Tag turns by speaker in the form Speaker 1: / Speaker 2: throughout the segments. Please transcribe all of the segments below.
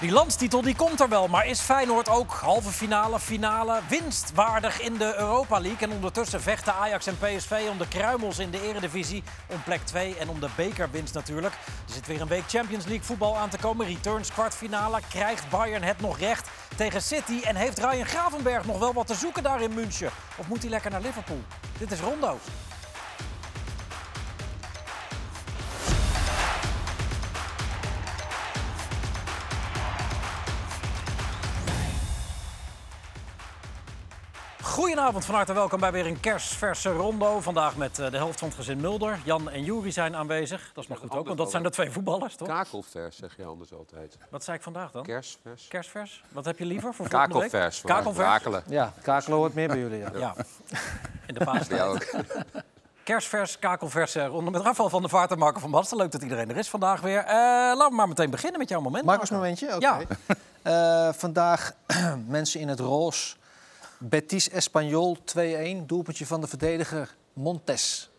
Speaker 1: Die landstitel die komt er wel, maar is Feyenoord ook halve finale, finale winstwaardig in de Europa League? En ondertussen vechten Ajax en PSV om de kruimels in de eredivisie, om plek 2 en om de bekerwinst natuurlijk. Er zit weer een week Champions League voetbal aan te komen. Returns kwartfinale, krijgt Bayern het nog recht tegen City? En heeft Ryan Gravenberg nog wel wat te zoeken daar in München? Of moet hij lekker naar Liverpool? Dit is Rondo. Goedenavond, van harte welkom bij weer een kerstverse rondo. Vandaag met eh, de helft van het gezin Mulder. Jan en Juri zijn aanwezig. Dat is maar
Speaker 2: Ja,
Speaker 1: goed ook, want dat
Speaker 2: anders
Speaker 1: zijn de
Speaker 2: wel.
Speaker 1: twee voetballers, toch?
Speaker 2: Kakelvers zeg je anders altijd.
Speaker 1: Wat zei ik vandaag dan?
Speaker 2: Kersvers.
Speaker 1: Kerstvers? Wat heb je liever voor volgende week?
Speaker 2: Kakelvers. voor
Speaker 1: Kakelvers?
Speaker 2: Rakelen.
Speaker 3: Ja, kakelen hoort meer bij jullie. Ja.
Speaker 1: Ja. In de paas.
Speaker 2: Voor jou ook.
Speaker 1: Kerstvers, kakelvers, eh, ronde met Rafael van der Vaart en Marco van Basten. Leuk dat iedereen er is vandaag weer. Eh, laten we maar meteen beginnen met jouw moment.
Speaker 3: Marcus,
Speaker 1: Marco.
Speaker 3: momentje? Oké.
Speaker 1: Ja.
Speaker 3: Eh, vandaag mensen in het roos. Betis Espanyol 2-1. Doelpuntje van de verdediger Montes.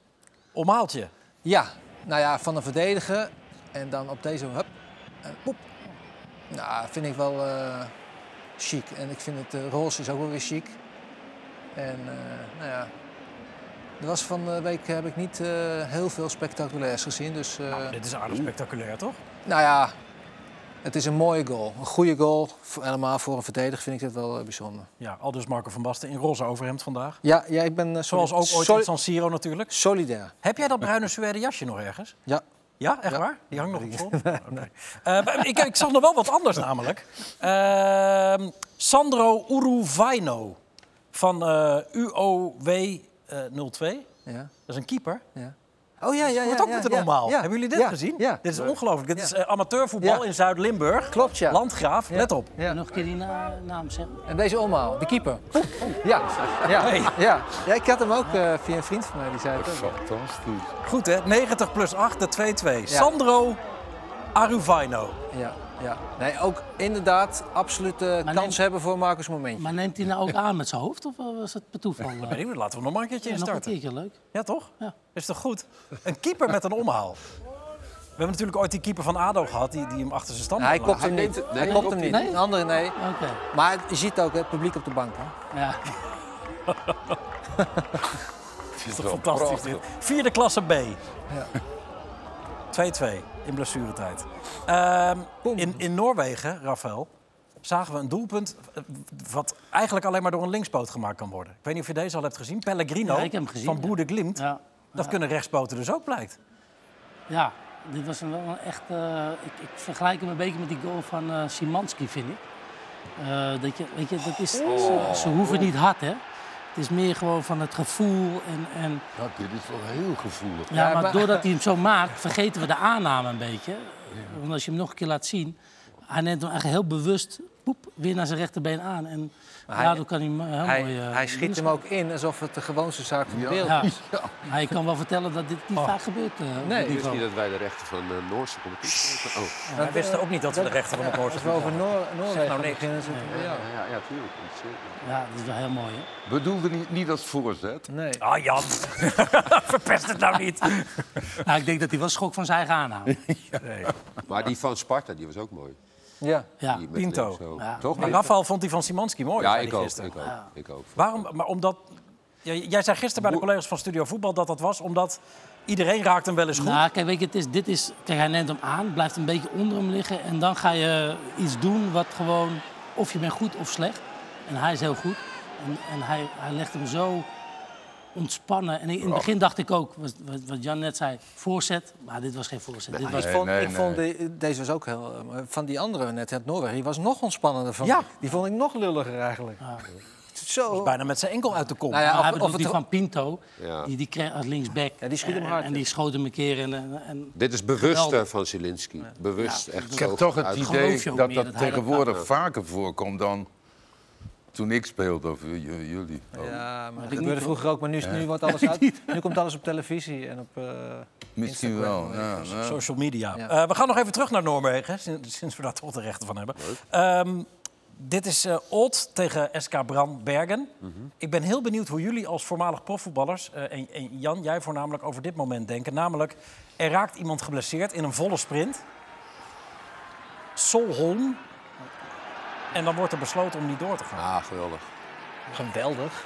Speaker 1: Omhaaltje.
Speaker 3: Ja, nou ja, van een verdediger. En dan op deze, hup, en poep. Nou, vind ik wel eh, chic. En ik vind het eh, roze is ook wel weer chic. En eh, nou ja, de was van de week heb ik niet eh, heel veel spectaculairs gezien. Dus, eh,
Speaker 1: Dit is aardig spectaculair, toch?
Speaker 3: Nou ja, het is een mooie goal. Een goede goal. Voor- Helemaal voor een verdediger vind ik dat wel eh, bijzonder.
Speaker 1: Ja, al dus Marco van Basten in roze overhemd vandaag.
Speaker 3: Ja, ja ik ben eh,
Speaker 1: Zoals
Speaker 3: soli-
Speaker 1: ook ooit
Speaker 3: soli-
Speaker 1: in San Siro natuurlijk.
Speaker 3: solidair.
Speaker 1: Heb jij dat bruine suède jasje nog ergens?
Speaker 3: Ja.
Speaker 1: Ja, echt waar? Die hangt nog op school? Oké. Eh, maar ik, ik zag nog wel wat anders namelijk. Ehm, Sandro Uruvaino van eh, UOW eh, 02.
Speaker 3: ja,
Speaker 1: Dat is een keeper.
Speaker 3: ja. Oh ja, ja,
Speaker 1: wordt ook met een omhaal. Hebben jullie dit gezien?
Speaker 3: Ja.
Speaker 1: Dit is ongelooflijk. Dit is eh, amateurvoetbal
Speaker 3: Ja.
Speaker 1: in Zuid-Limburg.
Speaker 3: Klopt, ja.
Speaker 1: Landgraaf, let op.
Speaker 3: Ja.
Speaker 4: Nog een keer die na- naam zeggen.
Speaker 3: En deze omhaal, de keeper. Ja. Ja.
Speaker 1: Hey.
Speaker 3: ja. ja, ik had hem ook eh, via een vriend van mij, die zei het ook.
Speaker 2: Fantastisch.
Speaker 1: Goed hè, 90 plus 8, de 2-2. Sandro Aruvaino.
Speaker 3: Ja, ja. Nee, ook inderdaad absoluut eh, kans
Speaker 4: neem-
Speaker 3: hebben voor Marcus Momentje.
Speaker 4: Maar neemt hij nou ook aan met zijn hoofd of eh, was het per toeval? eh?
Speaker 1: Weet ik niet, Laten we nog maar een keertje
Speaker 4: Ja, nog een
Speaker 1: instarten.
Speaker 4: keertje, leuk.
Speaker 1: Ja, toch?
Speaker 4: Ja.
Speaker 1: Is toch goed? Een keeper met een omhaal. We hebben natuurlijk ooit die keeper van ADO gehad, die, die hem achter zijn stand
Speaker 3: Nee, hij
Speaker 1: had
Speaker 3: klopt
Speaker 1: laten.
Speaker 3: hem niet.
Speaker 2: Nee,
Speaker 3: hij
Speaker 2: hij
Speaker 3: klopt hem niet.
Speaker 4: niet.
Speaker 3: Een andere nee.
Speaker 4: Oké.
Speaker 3: Maar je ziet ook hè, het publiek op de bank. Hè.
Speaker 4: Ja.
Speaker 2: Het
Speaker 1: Dat is toch fantastisch dit. Vierde klasse B. 2-2 in blessuretijd. Ehm, in, in Noorwegen, Rafael, zagen we een doelpunt... eh, wat eigenlijk alleen maar door een linkspoot gemaakt kan worden. Ik weet niet of je deze al hebt gezien. Pellegrino
Speaker 4: Ja, ik heb hem gezien,
Speaker 1: van
Speaker 4: ja.
Speaker 1: Boede Glimt.
Speaker 4: Ja.
Speaker 1: Dat kunnen rechtspoten dus ook, blijkt.
Speaker 4: ja, dit was een, wel een echt... eh, ik, ik vergelijk hem een beetje met die goal van eh, Simanski, vind ik. Eh, dat je, weet je, dat is, ze, ze
Speaker 5: Oh.
Speaker 4: hoeven niet hard, hè. Het is meer gewoon van het gevoel en... en
Speaker 5: Ja, dit is wel heel gevoelig.
Speaker 4: Ja, maar
Speaker 3: maar-
Speaker 4: doordat hij hem zo maakt, vergeten we de aanname een beetje. Want als je hem nog een keer laat zien, hij neemt hem echt heel bewust poep, weer naar zijn rechterbeen aan. En
Speaker 3: hij-
Speaker 4: daardoor kan hij hem heel
Speaker 3: Hij,
Speaker 4: mooi... eh,
Speaker 3: hij schiet hem ook in alsof het de gewoonste zaak van de wereld
Speaker 4: Ja.
Speaker 3: is.
Speaker 4: Maar ik kan wel vertellen dat dit niet vaak gebeurt. eh, op
Speaker 3: Oh. Nee,
Speaker 4: dit
Speaker 3: dus
Speaker 2: Ik wist
Speaker 4: niveau.
Speaker 2: niet dat wij de rechten van de Noorse competitie hadden. Oh,
Speaker 1: Wij wisten ook niet dat we de rechter van de koers
Speaker 3: Als we over Noor Noorwegen beginnen... is het- ja.
Speaker 2: ja, ja, ja, tuurlijk. Ontzettend.
Speaker 4: Ja, dat is wel heel mooi. Hè?
Speaker 5: Bedoelde niet, niet als voorzet.
Speaker 3: Nee.
Speaker 1: Ah, Jan. Verpest het nou niet.
Speaker 4: Nou, ik denk dat hij wel schok van zijn eigen aanname.
Speaker 2: Maar die van Sparta, die was ook mooi.
Speaker 3: Ja.
Speaker 4: Ja.
Speaker 2: Die met
Speaker 1: Pinto.
Speaker 2: links zo.
Speaker 4: Ja.
Speaker 2: Toch?
Speaker 1: Maar Rafael vond die van Simanski mooi.
Speaker 2: ja,
Speaker 1: zei
Speaker 2: ik
Speaker 1: hij
Speaker 2: ook,
Speaker 1: gisteren.
Speaker 2: ik ook. Ik ook.
Speaker 1: Waarom? Maar omdat. Jij, jij zei gisteren bij de collega's van Studio Voetbal dat dat was omdat iedereen raakt hem wel eens goed.
Speaker 4: Nou, kijk, weet je, het is, dit is, kijk, hij neemt hem aan, blijft een beetje onder hem liggen. En dan ga je iets doen wat gewoon, of je bent goed of slecht. En hij is heel goed. En, en hij, hij legt hem zo ontspannen. En in
Speaker 3: Oh.
Speaker 4: het begin dacht ik ook, wat, wat- wat Jan net zei, voorzet. Maar dit was geen voorzet. dit was,
Speaker 3: Ik vond,
Speaker 5: nee,
Speaker 3: ik
Speaker 5: nee.
Speaker 3: vond de- deze was ook heel... eh, maar Van die andere net uit Noorwegen, die was nog ontspannender. Van,
Speaker 1: Ja.
Speaker 3: Die vond ik nog lulliger eigenlijk. Zo.
Speaker 1: Bijna met zijn enkel uit de kom.
Speaker 3: Nou ja,
Speaker 4: Maar hij
Speaker 3: of,
Speaker 4: bedoelt
Speaker 3: of
Speaker 4: die
Speaker 3: het...
Speaker 4: van Pinto,
Speaker 2: Ja.
Speaker 4: die, die kreeg als linksback.
Speaker 3: Ja, die schiet hem
Speaker 4: En-
Speaker 3: hard,
Speaker 4: En, die schoot hem een keer. En, en, en-
Speaker 2: Dit is bewust
Speaker 4: Geweldig.
Speaker 2: eh, van Zielinski. Bewust, echt
Speaker 5: Ik
Speaker 2: zo.
Speaker 5: heb toch het
Speaker 2: uit-
Speaker 4: geloof
Speaker 5: idee
Speaker 4: je ook
Speaker 5: dat
Speaker 4: meer dat
Speaker 5: dat
Speaker 4: hij
Speaker 5: tegenwoordig vaker voorkomt dan toen ik speelde of j- j- jullie. Oh,
Speaker 3: Ja, maar dat gebeurde vroeger ook, maar nu, is- nu, wordt alles uit, nu komt alles op televisie en op... eh,
Speaker 5: Misschien wel. Ja, ja.
Speaker 1: Social media.
Speaker 3: Ja.
Speaker 1: Eh, we gaan nog even terug naar Noorwegen, sinds, sinds we daar toch de rechten van hebben. Ehm, dit is eh Old tegen SK Bran Bergen. Ik ben heel benieuwd hoe jullie als voormalig profvoetballers... eh, en, en Jan, jij voornamelijk over dit moment denken. Namelijk, er raakt iemand geblesseerd in een volle sprint. Solholm En dan wordt er besloten om niet door te gaan.
Speaker 2: Ah, geweldig.
Speaker 3: Geweldig.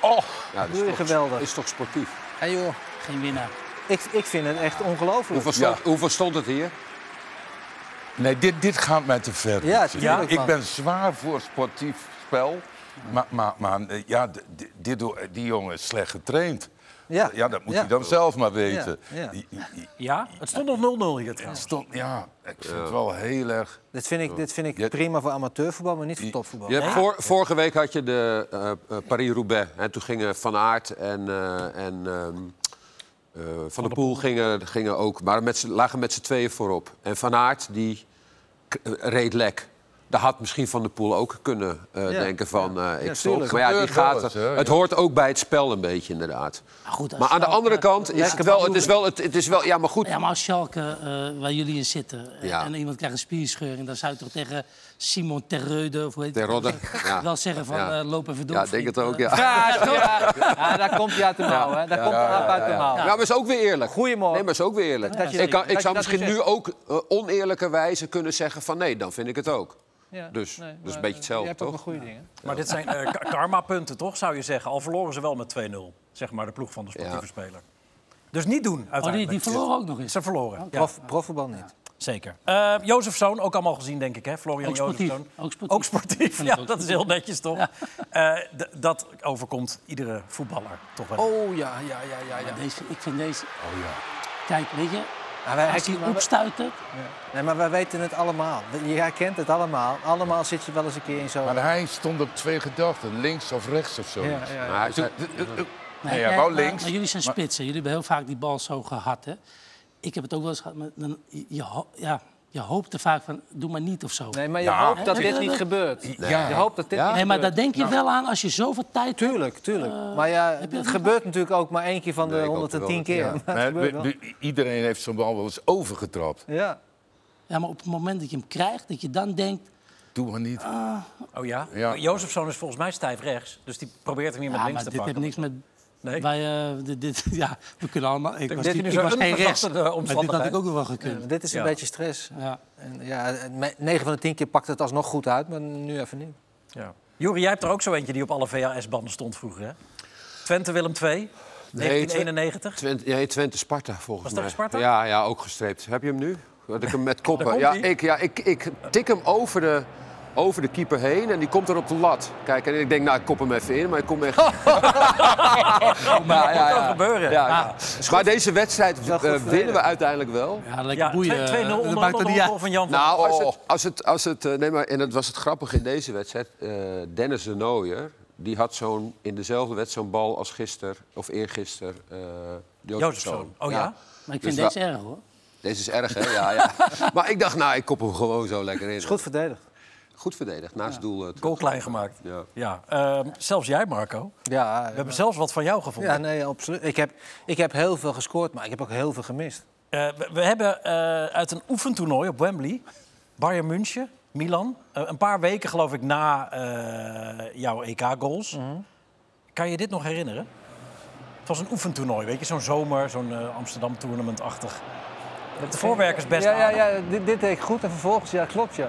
Speaker 5: Oh,
Speaker 2: Ja, dat
Speaker 3: Doe je
Speaker 2: toch-
Speaker 3: geweldig.
Speaker 2: is toch sportief?
Speaker 3: En joh,
Speaker 4: Geen winnaar.
Speaker 3: ik, ik vind het echt ongelooflijk.
Speaker 2: Hoeveel stond, hoeveel stond het hier?
Speaker 5: Nee, dit, dit gaat mij te ver.
Speaker 3: Ja,
Speaker 5: Richard.
Speaker 3: tuurlijk,
Speaker 5: ik
Speaker 3: man.
Speaker 5: ben zwaar voor sportief spel. Maar, maar, maar eh, ja, d- d- dit, door- die jongen is slecht getraind.
Speaker 3: Ja.
Speaker 5: ja dat moet
Speaker 3: Ja.
Speaker 5: hij dan zelf maar weten.
Speaker 3: Ja.
Speaker 5: I- i- i-
Speaker 1: Ja, het stond nog 0-0 hier trouwens.
Speaker 5: Stond, ja, ik vind het wel heel erg...
Speaker 3: Dit vind ik, dit vind ik
Speaker 5: Je-
Speaker 3: prima voor amateurvoetbal, maar niet voor topvoetbal.
Speaker 2: Je hebt voor, vorige week had je de eh, eh, Paris-Roubaix. En toen gingen Van Aert en, eh, en ehm, eh, Van der Poel gingen, gingen ook. Maar met z'n- lagen met z'n tweeën voorop. En Van Aert die k- eh, reed lek. Daar had misschien Van der Poel ook kunnen eh,
Speaker 3: Ja.
Speaker 2: denken van... eh, ik
Speaker 3: Ja,
Speaker 2: stop.
Speaker 3: tuurlijk.
Speaker 2: Maar ja, die
Speaker 5: Gebeurt wel
Speaker 2: gaat,
Speaker 5: eens, hè,
Speaker 2: het hoort ook bij het spel een beetje, inderdaad.
Speaker 4: Maar, goed, als
Speaker 2: Maar aan de
Speaker 4: Schalke-
Speaker 2: andere kant is het wel... Het is wel, het, het is wel ja, maar goed.
Speaker 4: Ja, maar als Schalke, eh, waar jullie in zitten, en-
Speaker 2: Ja.
Speaker 4: en iemand krijgt een spierscheuring... dan zou je toch tegen Simon Terreude, of hoe heet die?
Speaker 2: Terreude, ja.
Speaker 4: Wel zeggen van,
Speaker 2: Ja.
Speaker 4: eh, loop even door.
Speaker 2: Ja, denk het
Speaker 4: vriend.
Speaker 2: ook, ja.
Speaker 4: Eh,
Speaker 3: Ja, ja. ja, daar komt hij uit de mouw, hè. Daar komt de aap uit de mouw.
Speaker 2: Ja, maar is Nou, ook weer eerlijk.
Speaker 3: Goeiemorgen.
Speaker 2: Nee, maar is ook weer eerlijk.
Speaker 3: Dat je-
Speaker 2: ik, kan,
Speaker 3: dat
Speaker 2: ik
Speaker 3: je
Speaker 2: zou
Speaker 3: dat
Speaker 2: misschien
Speaker 3: dus
Speaker 2: nu ook eh, oneerlijke wijze kunnen zeggen van nee, dan vind ik het ook.
Speaker 3: Ja,
Speaker 2: Dus,
Speaker 3: nee,
Speaker 2: dus
Speaker 3: maar,
Speaker 2: een beetje
Speaker 3: eh, Je
Speaker 2: hetzelfde,
Speaker 3: hebt ook
Speaker 2: toch?
Speaker 3: nog goede dingen.
Speaker 1: Maar dit zijn eh, ka- karma-punten, toch, zou je zeggen? Al verloren ze wel met 2-0, zeg maar, de ploeg van de sportieve
Speaker 2: Ja.
Speaker 1: speler. Dus niet doen, uiteindelijk.
Speaker 4: Oh, die, die verloren ook nog eens.
Speaker 1: Ze verloren, ja,
Speaker 3: Prof, profvoetbal niet.
Speaker 1: zeker. Eh Jozefzoon, ook allemaal gezien, denk ik, hè? Florian
Speaker 4: Ook sportief,
Speaker 1: Jozefzoon.
Speaker 4: ook sportief.
Speaker 1: Ook sportief,
Speaker 4: Vind
Speaker 1: ja,
Speaker 4: ik ook
Speaker 1: dat is heel netjes, toch? Eh, d- dat overkomt iedere voetballer, toch wel.
Speaker 3: Oh ja, ja, ja, ja. ja.
Speaker 4: Deze, ik vind deze... Kijk, weet je,
Speaker 3: Maar Nou, wij,
Speaker 4: als hij
Speaker 3: maar, wij-
Speaker 4: opstuitert...
Speaker 3: nee, maar wij weten het allemaal. Je herkent het allemaal. Allemaal zit je wel eens een keer in zo'n...
Speaker 5: Maar hij stond op twee gedachten, links of rechts of eh, zo.
Speaker 3: Ja, ja, ja.
Speaker 2: Maar,
Speaker 5: Zo,
Speaker 2: hij-
Speaker 5: d- d- d-
Speaker 4: Nee,
Speaker 5: Nee, hij
Speaker 4: nee,
Speaker 5: wou
Speaker 4: maar-
Speaker 5: links.
Speaker 4: Maar jullie zijn spitsen. Jullie hebben heel vaak die bal zo gehad. Hè? Ik heb het ook wel eens gehad. Maar dan, je, ho- ja, je hoopt er vaak van, doe maar niet of zo. Nee,
Speaker 3: Nee, maar je
Speaker 5: Ja.
Speaker 3: hoopt dat dit niet gebeurt.
Speaker 5: Ja.
Speaker 3: Je hoopt dat dit niet
Speaker 4: maar daar
Speaker 3: gebeurt.
Speaker 4: denk je wel aan als je zoveel tijd...
Speaker 3: Tuurlijk, tuurlijk. maar ja, het gebeurt natuurlijk ook maar één keer van de
Speaker 2: Nee, ik hoop het wel.
Speaker 3: 110
Speaker 2: Ja.
Speaker 3: keer. Maar het
Speaker 5: Maar
Speaker 3: gebeurt wel.
Speaker 5: we- we- iedereen heeft zo'n bal wel eens overgetrapt.
Speaker 3: Ja.
Speaker 4: Ja, maar op het moment dat je hem krijgt, dat je dan denkt...
Speaker 5: Doe maar niet.
Speaker 1: Oh ja?
Speaker 5: Ja.
Speaker 1: Jozefzoon is volgens mij stijf rechts, dus die probeert hem hier met
Speaker 4: Ja,
Speaker 1: links
Speaker 4: "Ah, maar
Speaker 1: te
Speaker 4: dit heeft
Speaker 1: pakken.
Speaker 4: niks met...
Speaker 1: Nee.
Speaker 4: Wij, eh, dit, dit- ja, we kunnen allemaal... Ik was,
Speaker 1: dit
Speaker 4: niet-
Speaker 1: nu
Speaker 4: ik
Speaker 1: zo'n
Speaker 4: was geen rechts,
Speaker 1: onverdachte, eh,
Speaker 4: maar dit had
Speaker 1: omstandigheid.
Speaker 4: ik ook nog wel gekund.
Speaker 3: Dit is een
Speaker 1: Ja.
Speaker 3: beetje stress.
Speaker 4: Ja.
Speaker 3: En ja, 9 van de 10 keer pakt het alsnog goed uit, maar nu even niet.
Speaker 1: Ja. Jori, jij hebt er ook zo eentje die op alle VHS-banden stond vroeger, hè? Twente Willem II, 1991.
Speaker 2: Twente, nee, Twente Sparta volgens
Speaker 1: Was dat
Speaker 2: mij.
Speaker 1: Sparta?
Speaker 2: Ja, ja, ook gestreept. Heb je hem nu? Had ik hem met koppen.
Speaker 1: komt
Speaker 2: Ja,
Speaker 1: ie.
Speaker 2: ik, ja ik, ik tik hem over de, over de keeper heen en die komt er op de lat. Kijk, en ik denk, nou, ik kop hem even in, maar ik kom echt... maar,
Speaker 1: kan gebeuren.
Speaker 2: Ja, ja. Maar deze wedstrijd
Speaker 3: wel goed
Speaker 2: eh, winnen we
Speaker 3: verdedigd.
Speaker 2: uiteindelijk wel.
Speaker 4: Ja, lekker
Speaker 1: Ja, 2-2-0
Speaker 4: boeien. eh,
Speaker 1: onder
Speaker 4: dat
Speaker 1: andere
Speaker 4: maakt
Speaker 1: door
Speaker 4: er
Speaker 1: de
Speaker 4: niet
Speaker 1: goal
Speaker 4: uit.
Speaker 1: van Jan van
Speaker 2: Nou, als het, als het, als het eh, nee, maar, en dat was het grappige in deze wedstrijd. eh, Dennis de Nooijer, die had zo'n, in dezelfde wedstrijd zo'n bal als gisteren, of eergisteren, eh
Speaker 1: Jozefzoon.
Speaker 2: Jozefzoon.
Speaker 1: Oh ja?
Speaker 4: Maar ik
Speaker 2: Dus
Speaker 4: vind
Speaker 2: wa-
Speaker 4: deze erg, hoor.
Speaker 2: Deze is erg, hè? Ja, ja. maar ik dacht, nou, ik kop hem gewoon zo lekker in.
Speaker 3: Is goed verdedigd.
Speaker 2: Goed verdedigd, naast doel. eh, terug.
Speaker 1: Goal klein gemaakt.
Speaker 2: Ja.
Speaker 1: Ja. ehm, zelfs jij, Marco.
Speaker 3: Ja,
Speaker 1: We hebben zelfs wat van jou gevonden.
Speaker 3: ja nou. nee, absoluut. Ik heb, ik heb heel veel gescoord, maar ik heb ook heel veel gemist.
Speaker 1: Eh, we, we hebben eh, uit een oefentoernooi op Wembley, Bayern München, Milan, eh, een paar weken geloof ik na eh, jouw EK-goals.
Speaker 4: Mhm.
Speaker 1: Kan je dit nog herinneren? Het was een oefentoernooi, weet je, zo'n zomer, zo'n eh, Amsterdam-tournament-achtig. De voorwerkers best
Speaker 3: Ja, ja,
Speaker 1: aardig.
Speaker 3: ja dit, dit deed ik goed en vervolgens, ja, klopt ja.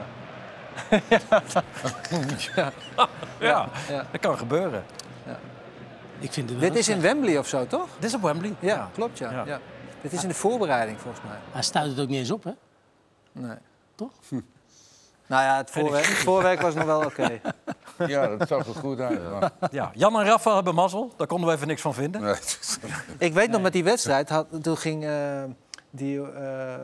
Speaker 1: Ja,
Speaker 3: ja.
Speaker 1: dat kan gebeuren.
Speaker 4: Ik vind het wel
Speaker 3: Dit is in Wembley of zo, toch?
Speaker 1: Dit is op Wembley.
Speaker 3: Ja, klopt ja.
Speaker 1: Ja.
Speaker 3: Ja. Dit is in de voorbereiding volgens mij.
Speaker 4: Hij stuit het ook niet eens op, hè?
Speaker 3: Nee.
Speaker 4: Toch?
Speaker 3: Nou ja, het voorwerk, het voorwerk was nog wel oké.
Speaker 5: Ja, dat zag er goed uit. maar-
Speaker 1: Ja. Jan en Rafa hebben mazzel, daar konden we even niks van vinden.
Speaker 5: Nee, het is-
Speaker 3: Ik weet nog, met die wedstrijd, had, toen ging eh, die, eh,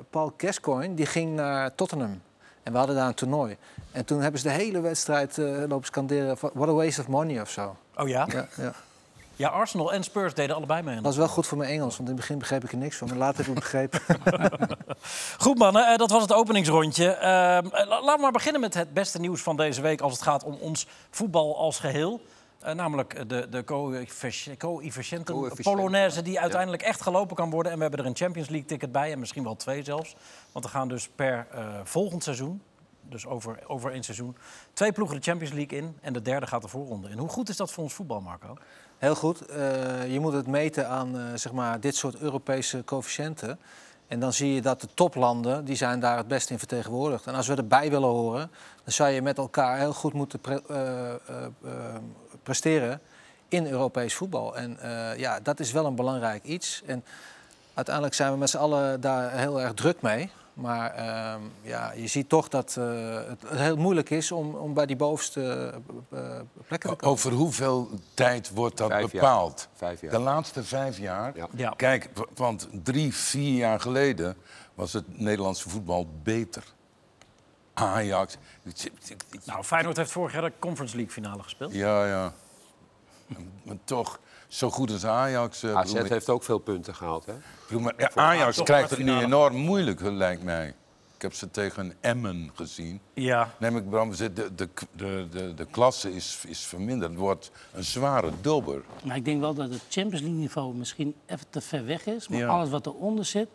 Speaker 3: Paul Gascoigne die ging naar Tottenham. En we hadden daar een toernooi. En toen hebben ze de hele wedstrijd eh, lopen scanderen van what a waste of money of zo.
Speaker 1: Oh ja?
Speaker 3: Ja, ja.
Speaker 1: Ja, Arsenal en Spurs deden allebei mee. aan
Speaker 3: Dat was wel goed voor mijn Engels, want in het begin begreep ik er niks van. Maar later heb ik het begrepen.
Speaker 1: Goed mannen, eh, dat was het openingsrondje. Ehm, eh, la- laten we maar beginnen met het beste nieuws van deze week als het gaat om ons voetbal als geheel. Eh, namelijk eh, de, de co-effici- co-efficiënten
Speaker 2: Co-efficiënten,
Speaker 1: Polonaise die uiteindelijk echt gelopen kan worden. En we hebben er een Champions League ticket bij en misschien wel twee zelfs. Want er gaan dus per eh, volgend seizoen, dus over, over één seizoen, twee ploegen de Champions League in. En de derde gaat de voorronde in. Hoe goed is dat voor ons voetbal, Marco?
Speaker 3: Heel goed. Eh, je moet het meten aan eh, zeg maar, dit soort Europese coëfficiënten.
Speaker 6: En dan zie je dat de toplanden, die zijn daar het best in vertegenwoordigd. En als we erbij willen horen, dan zou je met elkaar heel goed moeten pre- eh, eh, eh, presteren in Europees voetbal. En eh, ja, dat is wel een belangrijk iets. En uiteindelijk zijn we met z'n allen daar heel erg druk mee. Maar ehm, ja, je ziet toch dat eh, het heel moeilijk is om, om bij die bovenste eh, eh, plekken te komen.
Speaker 5: Over hoeveel tijd wordt dat
Speaker 2: Vijf jaar.
Speaker 5: bepaald?
Speaker 2: Vijf jaar.
Speaker 5: De laatste vijf jaar?
Speaker 2: Ja.
Speaker 1: Ja.
Speaker 5: Kijk, w- want drie, vier jaar geleden was het Nederlandse voetbal beter. Ajax.
Speaker 1: Nou, Feyenoord heeft vorig jaar de Conference League finale gespeeld.
Speaker 5: Ja, ja. Maar toch, zo goed als Ajax. eh,
Speaker 2: AZ
Speaker 5: bedoel ik-
Speaker 2: heeft ook veel punten gehaald, hè?
Speaker 5: bedoel maar, ja, Ajax
Speaker 1: toch
Speaker 5: krijgt
Speaker 1: maar
Speaker 5: het nu
Speaker 1: finale.
Speaker 5: enorm moeilijk, lijkt mij. Ik heb ze tegen Emmen gezien.
Speaker 1: Ja.
Speaker 5: Neem ik Bram, de, de, de, de, de klasse is, is verminderd. Het wordt een zware dobber.
Speaker 4: Maar ik denk wel dat het Champions League niveau misschien even te ver weg is. Maar
Speaker 5: Ja.
Speaker 4: alles wat eronder zit,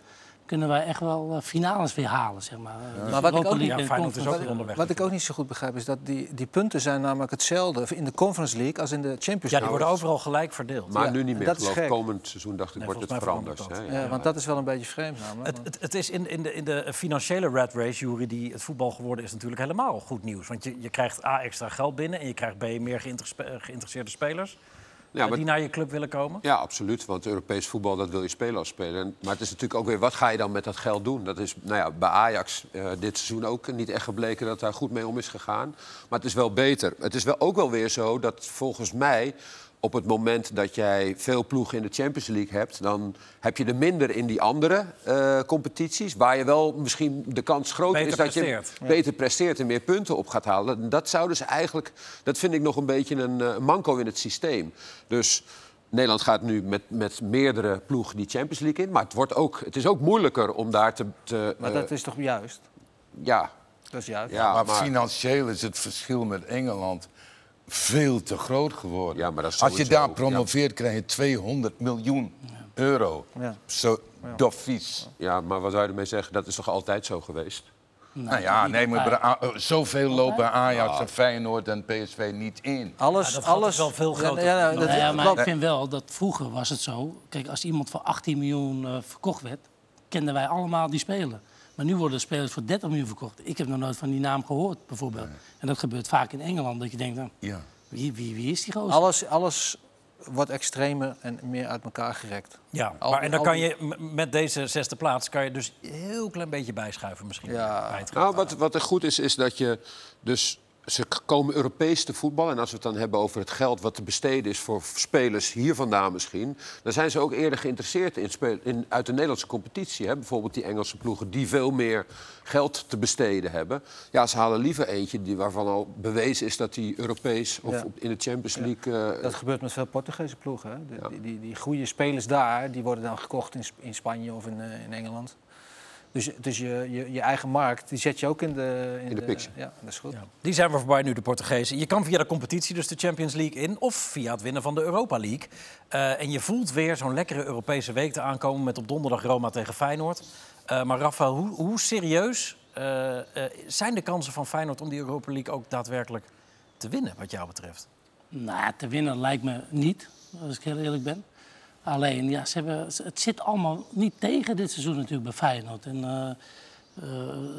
Speaker 4: kunnen wij echt wel eh, finales weer halen, zeg maar.
Speaker 6: Maar
Speaker 4: Dus
Speaker 6: wat ik
Speaker 4: Europa
Speaker 6: ook niet-
Speaker 4: League
Speaker 1: Ja,
Speaker 4: en
Speaker 1: Feyenoord is
Speaker 4: Conference
Speaker 1: ook onderweg.
Speaker 6: Wat ik ook niet zo goed begrijp is dat die, die punten zijn namelijk hetzelfde in de Conference League als in de Champions
Speaker 1: Ja, die
Speaker 6: League.
Speaker 1: worden overal gelijk verdeeld.
Speaker 2: Maar
Speaker 6: Ja,
Speaker 2: nu niet meer.
Speaker 6: dat
Speaker 2: Ik
Speaker 6: is
Speaker 2: geloof
Speaker 6: gek.
Speaker 2: komend seizoen dacht ik,
Speaker 1: Nee,
Speaker 2: wordt het
Speaker 1: volgens mij
Speaker 2: veranderd.
Speaker 1: verandert
Speaker 2: hè?
Speaker 6: ja, want dat is wel een beetje vreemd namelijk.
Speaker 1: Het, het, het is in, in, de, in de financiële rat race, Jury, die het voetbal geworden is, natuurlijk helemaal goed nieuws. Want je, je krijgt A extra geld binnen en je krijgt B meer geïnterespe- eh, geïnteresseerde spelers
Speaker 2: Ja,
Speaker 1: eh,
Speaker 2: maar-
Speaker 1: die naar je club willen komen.
Speaker 2: Ja, absoluut. Want Europees voetbal, dat wil je spelen als speler. En- Maar het is natuurlijk ook weer, wat ga je dan met dat geld doen? Dat is nou ja, bij Ajax eh, dit seizoen ook niet echt gebleken dat daar goed mee om is gegaan. Maar het is wel beter. Het is wel ook wel weer zo dat volgens mij... Op het moment dat jij veel ploegen in de Champions League hebt, dan heb je er minder in die andere eh, competities. Waar je wel misschien de kans groter
Speaker 1: Beter
Speaker 2: is dat
Speaker 1: presteert.
Speaker 2: je beter presteert en meer punten op gaat halen. En Dat zou dus eigenlijk, dat vind ik nog een beetje een eh, manco in het systeem. Dus Nederland gaat nu met, met meerdere ploegen die Champions League in. Maar het, wordt ook, het is ook moeilijker om daar te. te
Speaker 6: Maar
Speaker 2: eh,
Speaker 6: dat is toch juist?
Speaker 2: ja,
Speaker 6: Dat is juist.
Speaker 2: ja,
Speaker 5: maar,
Speaker 2: maar,
Speaker 5: financieel is het verschil met Engeland veel te groot geworden.
Speaker 2: Ja, maar dat is
Speaker 5: Als je
Speaker 2: sowieso,
Speaker 5: daar promoveert, krijg je 200 miljoen euro.
Speaker 6: Ja.
Speaker 5: Zo dof vies.
Speaker 2: ja, maar wat zou je ermee zeggen? Dat is toch altijd zo geweest?
Speaker 5: Nou ja, nee, maar
Speaker 4: bij-
Speaker 5: bij A- eh, zoveel lopen
Speaker 2: Ah.
Speaker 5: Ajax en Feyenoord en PSV niet in.
Speaker 6: Alles,
Speaker 1: Ja, dat gat
Speaker 6: alles.
Speaker 1: is wel veel groter.
Speaker 6: Ja, ja,
Speaker 1: Nou
Speaker 6: dat-
Speaker 4: Nou ja, maar
Speaker 6: klopt.
Speaker 4: ik vind wel dat vroeger was het zo. Kijk, als iemand voor 18 miljoen eh, verkocht werd, kenden wij allemaal die speler. Maar nu worden spelers voor 30 miljoen verkocht. Ik heb nog nooit van die naam gehoord, bijvoorbeeld. En dat gebeurt vaak in Engeland, dat je denkt, nou,
Speaker 5: Ja.
Speaker 4: wie, wie, wie is die gozer?
Speaker 6: alles, alles wordt extremer en meer uit elkaar gerekt.
Speaker 1: Ja,
Speaker 6: Al
Speaker 1: maar,
Speaker 6: die-
Speaker 1: en dan
Speaker 6: al
Speaker 1: kan
Speaker 6: die-
Speaker 1: je m- met deze zesde plaats kan je dus een heel klein beetje bijschuiven misschien.
Speaker 6: Ja.
Speaker 1: bij het geld.
Speaker 2: Nou, wat, wat er goed is, is dat je dus... Ze k- komen Europees te voetballen. En als we het dan hebben over het geld wat te besteden is voor spelers hier vandaan misschien. Dan zijn ze ook eerder geïnteresseerd in spe- in, uit de Nederlandse competitie. Hè? Bijvoorbeeld die Engelse ploegen die veel meer geld te besteden hebben. Ja, ze halen liever eentje die, waarvan al bewezen is dat die Europees of
Speaker 6: Ja.
Speaker 2: op- in de Champions League. eh,
Speaker 6: Dat gebeurt met veel Portugese ploegen. Hè? De- die, die, die goede spelers daar, die worden dan gekocht in, Sp- in Spanje of in, eh, in Engeland. Dus, dus je, je, je eigen markt, die zet je ook in de...
Speaker 2: In de picture.
Speaker 6: Ja, dat is goed.
Speaker 1: Ja. Die zijn we voorbij nu, de Portugezen. Je kan via de competitie dus de Champions League in... of via het winnen van de Europa League. Eh, en je voelt weer zo'n lekkere Europese week te aankomen... met op donderdag Roma tegen Feyenoord. Eh, maar Rafael, hoe, hoe serieus eh, eh, zijn de kansen van Feyenoord... om die Europa League ook daadwerkelijk te winnen, wat jou betreft?
Speaker 4: Nou, te winnen lijkt me niet, als ik heel eerlijk ben. Alleen, ja, ze hebben, ze- het zit allemaal niet tegen dit seizoen natuurlijk bij Feyenoord. En, eh, eh,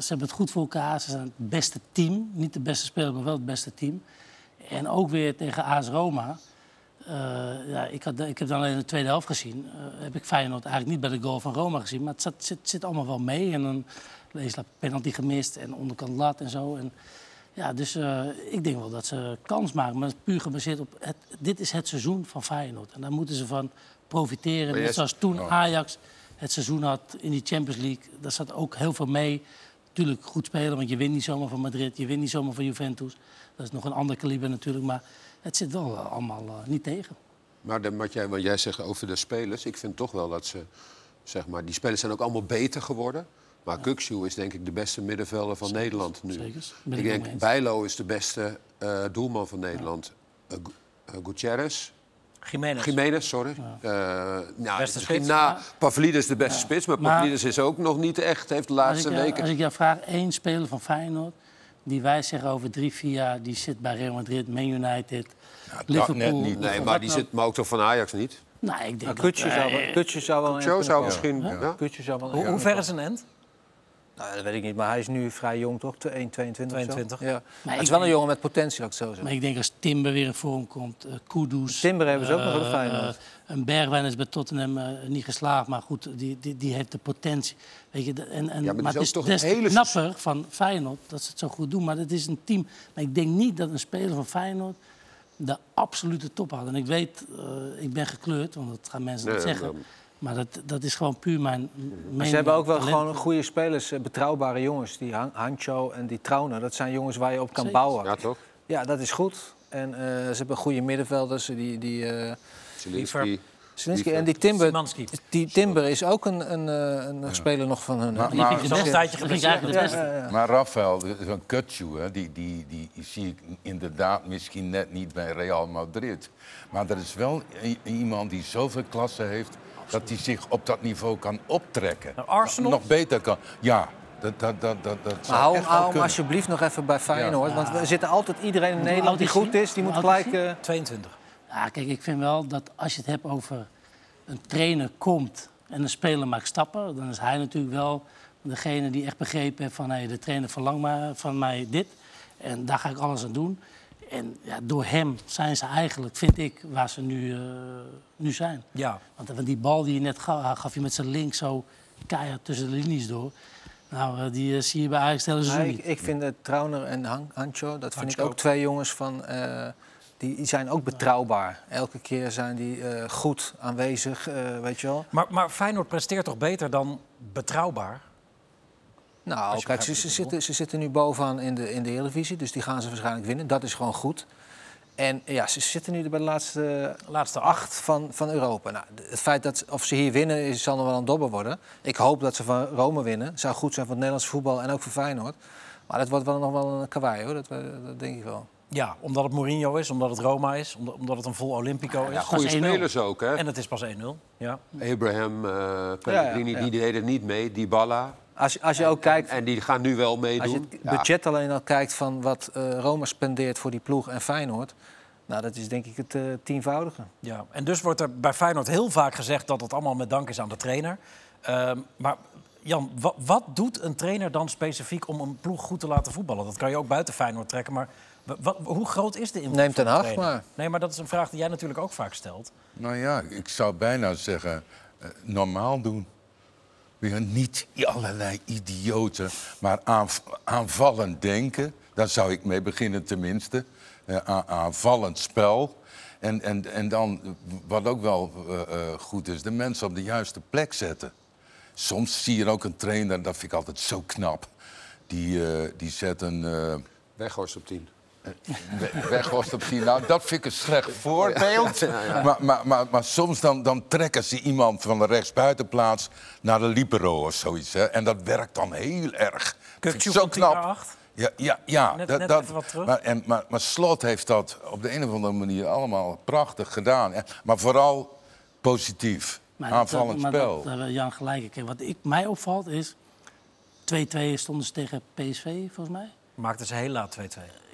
Speaker 4: ze hebben het goed voor elkaar. Ze zijn het beste team. Niet de beste speler, maar wel het beste team. En ook weer tegen AS Roma. Eh, ja, ik, had, ik heb dan alleen de tweede helft gezien. Eh, heb ik Feyenoord eigenlijk niet bij de goal van Roma gezien. Maar het zat, zit, zit allemaal wel mee. En dan is penalty gemist en onderkant lat en zo. En, ja, dus eh, ik denk wel dat ze kans maken. Maar het is puur gebaseerd op... Het, dit is het seizoen van Feyenoord. En daar moeten ze van profiteren.
Speaker 2: jij
Speaker 4: Net zoals toen Ajax het seizoen had in die Champions League. Daar zat ook heel veel mee. Natuurlijk goed spelen, want je wint niet zomaar van Madrid. Je wint niet zomaar van Juventus. Dat is nog een ander kaliber natuurlijk. Maar het zit wel eh, allemaal eh, niet tegen.
Speaker 2: Maar de, wat, jij, wat jij zegt over de spelers, ik vind toch wel dat ze, zeg maar, die spelers zijn ook allemaal beter geworden. Maar Kukshoe is denk ik de beste middenvelder van Nederland nu.
Speaker 4: zekers. Ben
Speaker 2: Ik,
Speaker 4: ik ook mee
Speaker 2: denk
Speaker 4: eens.
Speaker 2: Bijlo is de beste eh, doelman van Nederland. Eh, Gu- eh, Gutierrez,
Speaker 1: Jiménez.
Speaker 2: Jiménez, sorry. Eh, nou,
Speaker 1: Beste
Speaker 2: misschien
Speaker 1: spits.
Speaker 2: na Pavlidis de beste spits, maar
Speaker 4: Maar-
Speaker 2: Pavlidis is ook nog niet echt, heeft de laatste
Speaker 4: als ik,
Speaker 2: weken...
Speaker 4: Als ik jou vraag, één speler van Feyenoord... die wij zeggen over drie, vier jaar... die zit bij Real Madrid, Man United,
Speaker 5: dat
Speaker 4: Liverpool...
Speaker 5: net niet.
Speaker 4: of
Speaker 2: Nee,
Speaker 4: wat
Speaker 2: maar die
Speaker 4: nou-
Speaker 2: zit maar ook toch van Ajax niet.
Speaker 4: Nou, ik denk dat,
Speaker 3: Kutje zou, wel-
Speaker 4: eh,
Speaker 3: Kutje zou wel een
Speaker 2: Zo
Speaker 3: end
Speaker 2: zou
Speaker 3: kunnen
Speaker 2: misschien... ja.
Speaker 3: komen. Kutje zou wel een
Speaker 1: Hoe,
Speaker 3: end
Speaker 1: hoe
Speaker 3: kunnen
Speaker 1: ver is een end?
Speaker 3: komen. Nou, dat weet ik niet, maar hij is nu vrij jong, toch? 1, 22 of zo?
Speaker 1: 22.
Speaker 3: Ja.
Speaker 4: ik
Speaker 3: het is wel een
Speaker 4: denk-
Speaker 3: jongen met potentie, laat ik het zo zeggen.
Speaker 4: Maar ik denk als Timber weer in vorm komt, eh Kudus...
Speaker 3: Timber hebben ze ook nog
Speaker 4: eh,
Speaker 3: bij Feyenoord.
Speaker 4: eh, Een Bergwijn is bij Tottenham eh, niet geslaagd, maar goed, die, die, die heeft de potentie. Weet je, de- en, en,
Speaker 2: maar die is
Speaker 4: het
Speaker 2: ook
Speaker 4: is
Speaker 2: toch
Speaker 4: des
Speaker 2: een
Speaker 4: te
Speaker 2: hele-
Speaker 4: knapper van Feyenoord dat ze het zo goed doen. Maar het is een team. Maar ik denk niet dat een speler van Feyenoord de absolute top had. En ik weet, eh, ik ben gekleurd, want dat gaan mensen niet
Speaker 2: Nee,
Speaker 4: zeggen.
Speaker 2: dan-
Speaker 4: Maar dat, dat is gewoon puur mijn mening.
Speaker 3: Maar ze hebben ook wel
Speaker 4: Talent-
Speaker 3: gewoon goede spelers, eh, betrouwbare jongens. Die Han- Hancho en die Trauner, dat zijn jongens waar je op kan
Speaker 4: Zeker.
Speaker 3: bouwen.
Speaker 2: ja, toch?
Speaker 3: Ja, dat is goed. En eh, ze hebben goede middenvelders. Die, die, eh,
Speaker 2: Zielinski.
Speaker 3: Zelinski
Speaker 2: Die-
Speaker 3: en die Timber,
Speaker 1: Szymanski.
Speaker 3: die Timber is ook een, een, eh, een speler nog van hun. hè?
Speaker 5: Maar-
Speaker 4: Die vind ik de
Speaker 5: Maar-
Speaker 1: Zo'n
Speaker 4: beste.
Speaker 1: tijdje
Speaker 4: Dat vind ik eigenlijk de
Speaker 3: ja,
Speaker 4: beste.
Speaker 3: ja, ja.
Speaker 5: Maar Rafael, zo'n Kutsu, hè, die, die, die zie ik inderdaad misschien net niet bij Real Madrid. Maar er is wel i- iemand die zoveel klasse heeft dat hij zich op dat niveau kan optrekken.
Speaker 1: Nou, Arsenal?
Speaker 5: Nog beter kan. Ja, dat, dat, dat, dat, dat
Speaker 3: Maar
Speaker 5: zou
Speaker 3: hou,
Speaker 5: echt
Speaker 3: hou
Speaker 5: wel
Speaker 3: hem
Speaker 5: kunnen.
Speaker 3: alsjeblieft nog even bij Feyenoord. Want we zitten altijd iedereen in
Speaker 4: oud
Speaker 3: Nederland die
Speaker 4: is
Speaker 3: goed
Speaker 4: hij?
Speaker 3: is, die
Speaker 4: Hoe
Speaker 3: moet
Speaker 4: oud is
Speaker 3: gelijk... eh,
Speaker 1: 22.
Speaker 4: Ja, kijk, ik vind wel dat als je het hebt over een trainer komt en een speler maakt stappen, dan is hij natuurlijk wel degene die echt begrepen heeft van hey, de trainer verlangt maar van mij dit en daar ga ik alles aan doen. En ja, door hem zijn ze eigenlijk, vind ik, waar ze nu, eh, nu zijn.
Speaker 1: Ja.
Speaker 4: Want, want die bal die je net gaf, gaf je met zijn link zo keihard tussen de linies door. Nou, eh, die eh, zie je bij Ajax de hele
Speaker 3: Ja,
Speaker 4: seizoen
Speaker 3: ik,
Speaker 4: niet.
Speaker 3: ik vind eh, Trauner en Han- Hancho, dat vind ik
Speaker 1: Hancho.
Speaker 3: ook twee jongens van... eh, die die zijn ook betrouwbaar. Elke keer zijn die eh, goed aanwezig, eh, weet je wel.
Speaker 1: Maar, maar Feyenoord presteert toch beter dan betrouwbaar?
Speaker 3: Nou,
Speaker 1: je
Speaker 3: kijk,
Speaker 1: begrijpt
Speaker 3: ze,
Speaker 1: wat
Speaker 3: ze
Speaker 1: ik
Speaker 3: zitten, ze zitten nu bovenaan in de, in de Eredivisie. Dus die gaan ze waarschijnlijk winnen. Dat is gewoon goed. En ja, ze zitten nu bij de laatste
Speaker 1: Laatste acht.
Speaker 3: acht van, van Europa. Nou, d- het feit dat of ze hier winnen, is, zal nog wel een dobber worden. Ik hoop dat ze van Rome winnen. Zou goed zijn voor het Nederlands voetbal en ook voor Feyenoord. Maar dat wordt wel nog wel een kawaii, hoor. Dat, we- dat denk ik wel.
Speaker 1: Ja, omdat het Mourinho is, omdat het Roma is, omdat, omdat het een vol Olympico is.
Speaker 2: Ja, goede
Speaker 4: Dat is 1-0.
Speaker 2: spelers ook, hè?
Speaker 1: En het is pas 1-0. Ja.
Speaker 2: Abraham, eh Pellegrini,
Speaker 3: Ja, ja, ja.
Speaker 2: die deden niet mee. Dybala.
Speaker 3: Als, je- als je ook kijkt,
Speaker 2: En die gaan nu wel
Speaker 3: als je
Speaker 2: meedoen.
Speaker 3: het
Speaker 2: Ja.
Speaker 3: budget alleen al kijkt van wat eh, Rome spendeert voor die ploeg en Feyenoord... Nou, dat is denk ik het eh, tienvoudige.
Speaker 1: Ja. En dus wordt er bij Feyenoord heel vaak gezegd dat het allemaal met dank is aan de trainer. Ehm, maar Jan, wat, wat doet een trainer dan specifiek om een ploeg goed te laten voetballen? Dat kan je ook buiten Feyenoord trekken, maar wa- wat, hoe groot is de invloed
Speaker 3: Neem
Speaker 1: van
Speaker 3: Ten
Speaker 1: de
Speaker 3: Hag
Speaker 1: trainer?
Speaker 3: maar.
Speaker 1: Nee, maar dat is een vraag die jij natuurlijk ook vaak stelt.
Speaker 5: Nou ja, ik zou bijna zeggen, eh, normaal doen. Weer niet allerlei idioten, maar aanv- aanvallend denken. Daar zou ik mee beginnen tenminste. Eh, a- aanvallend spel. En, en, en dan, eh, wat ook wel eh, eh, goed is, de mensen op de juiste plek zetten. Soms zie je ook een trainer, dat vind ik altijd zo knap. Die, eh, die zet een... eh,
Speaker 2: Weghorst op 10.
Speaker 5: we- Weghorst op die. Nou, dat vind ik een slecht voorbeeld. Maar, maar, maar, maar soms dan, dan trekken ze iemand van de rechtsbuitenplaats naar de libero of zoiets. Hè. En dat werkt dan heel erg. Dat vind ik
Speaker 1: Kukçu
Speaker 5: zo
Speaker 1: van 10 naar
Speaker 5: knap.
Speaker 1: 8.
Speaker 5: Ja, ja, ja.
Speaker 1: Net-
Speaker 5: dat,
Speaker 1: net
Speaker 5: dat-
Speaker 1: even wat terug.
Speaker 5: Maar, en, maar, maar Slot heeft dat op de een of andere manier allemaal prachtig gedaan. hè. Maar vooral positief.
Speaker 4: Maar
Speaker 5: Aanvallend
Speaker 4: dat, maar
Speaker 5: spel.
Speaker 4: Dat, eh, daar hebben Jan gelijk. in. Kijk, wat ik, mij opvalt is... 2-2 stonden ze tegen PSV, volgens mij.
Speaker 1: Maakte ze dus heel laat 2-2.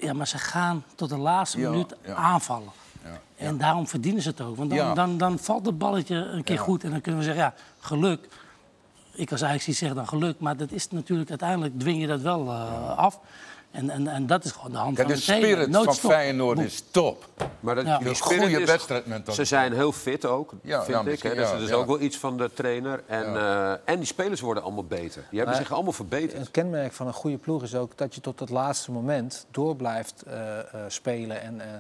Speaker 4: Ja, maar ze gaan tot de laatste
Speaker 5: Ja,
Speaker 4: minuut
Speaker 5: ja.
Speaker 4: aanvallen. En daarom verdienen ze het ook. Want dan,
Speaker 5: Ja.
Speaker 4: dan, dan valt het balletje een keer
Speaker 5: Ja.
Speaker 4: goed. En dan kunnen we zeggen, ja, geluk. Ik als eigenlijk niet zeg dan geluk. Maar dat is natuurlijk, uiteindelijk dwing je dat wel eh, af. En, en, en dat is gewoon de hand
Speaker 5: Kijk,
Speaker 4: van
Speaker 5: de
Speaker 4: de trainer.
Speaker 5: spirit
Speaker 4: Nooit
Speaker 5: van
Speaker 4: stop.
Speaker 5: Feyenoord
Speaker 4: Boem.
Speaker 5: is top.
Speaker 2: Maar dat,
Speaker 4: Ja.
Speaker 2: die
Speaker 5: Een
Speaker 2: spirit
Speaker 5: goede
Speaker 2: is-
Speaker 5: wedstrijdmentaliteit.
Speaker 2: Ze zijn heel fit ook,
Speaker 5: Ja,
Speaker 2: vind
Speaker 5: ja,
Speaker 2: ik. Hè.
Speaker 5: misschien,
Speaker 2: Dus
Speaker 5: ja,
Speaker 2: dat is
Speaker 5: ja.
Speaker 2: ook wel iets van de trainer. En, eh, en die spelers worden allemaal beter. Die hebben zich allemaal verbeterd.
Speaker 3: Een kenmerk van een goede ploeg is ook dat je tot het laatste moment door blijft eh, eh, spelen. En eh,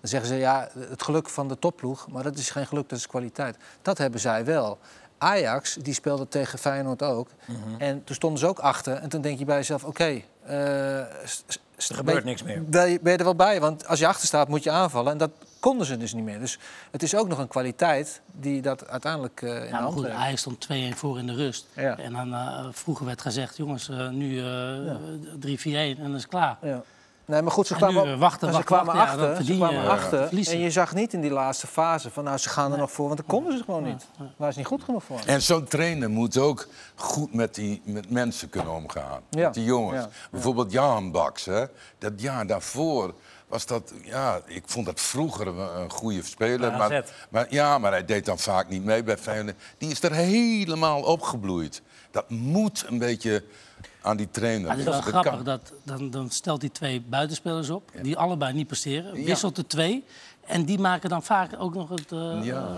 Speaker 3: dan zeggen ze ja, het geluk van de topploeg, maar dat is geen geluk, dat is kwaliteit. Dat hebben zij wel. Ajax, die speelde tegen Feyenoord ook.
Speaker 1: Mhm.
Speaker 3: En toen stonden ze ook achter. En toen denk je bij jezelf, oké... eh, s- s- s-
Speaker 1: gebeurt
Speaker 3: ben-
Speaker 1: niks meer.
Speaker 3: Ben je, ben je er wel bij? Want als je achter staat, moet je aanvallen. En dat konden ze dus niet meer. Dus het is ook nog een kwaliteit die dat uiteindelijk eh, in de
Speaker 4: Ja, maar
Speaker 3: hand
Speaker 4: goed,
Speaker 3: heeft.
Speaker 4: Ajax stond 2-1 voor in de rust.
Speaker 3: Ja.
Speaker 4: En dan eh, vroeger werd gezegd, jongens, eh, nu eh 3-4-1 en dan is het klaar.
Speaker 3: Ja. Nee, maar goed, ze
Speaker 4: En
Speaker 3: kwamen,
Speaker 4: nu, eh,
Speaker 3: op-
Speaker 4: wachten,
Speaker 3: maar ze
Speaker 4: wachten,
Speaker 3: kwamen
Speaker 4: wachten, ja,
Speaker 3: achter.
Speaker 4: dan
Speaker 3: ze
Speaker 4: verdien je,
Speaker 3: kwamen
Speaker 4: eh,
Speaker 3: achter.
Speaker 4: verliezen.
Speaker 3: En je zag niet in die laatste fase van nou, ze gaan er nog voor, want daar konden ze gewoon niet. Waar is niet goed genoeg voor.
Speaker 5: En zo'n trainer moet ook goed met, die, met mensen kunnen omgaan.
Speaker 3: Ja,
Speaker 5: Met die jongens.
Speaker 3: ja, ja.
Speaker 5: Bijvoorbeeld Jan Baks. Hè? Dat jaar daarvoor was dat, ja, ik vond dat vroeger een, een goede speler.
Speaker 1: Bij
Speaker 5: Maar,
Speaker 1: AZ.
Speaker 5: maar, ja, maar hij deed dan vaak niet mee bij Feyenoord. Die is er helemaal opgebloeid. Dat moet een beetje aan die trainer.
Speaker 4: Maar het is wel
Speaker 5: liggen. Dat
Speaker 4: grappig,
Speaker 5: kan.
Speaker 4: Ah, dat, dan, dan stelt hij twee buitenspelers op, die allebei niet presteren.
Speaker 5: Ja.
Speaker 4: Wisselt de twee en die maken dan vaak ook nog het... eh,
Speaker 5: Ja.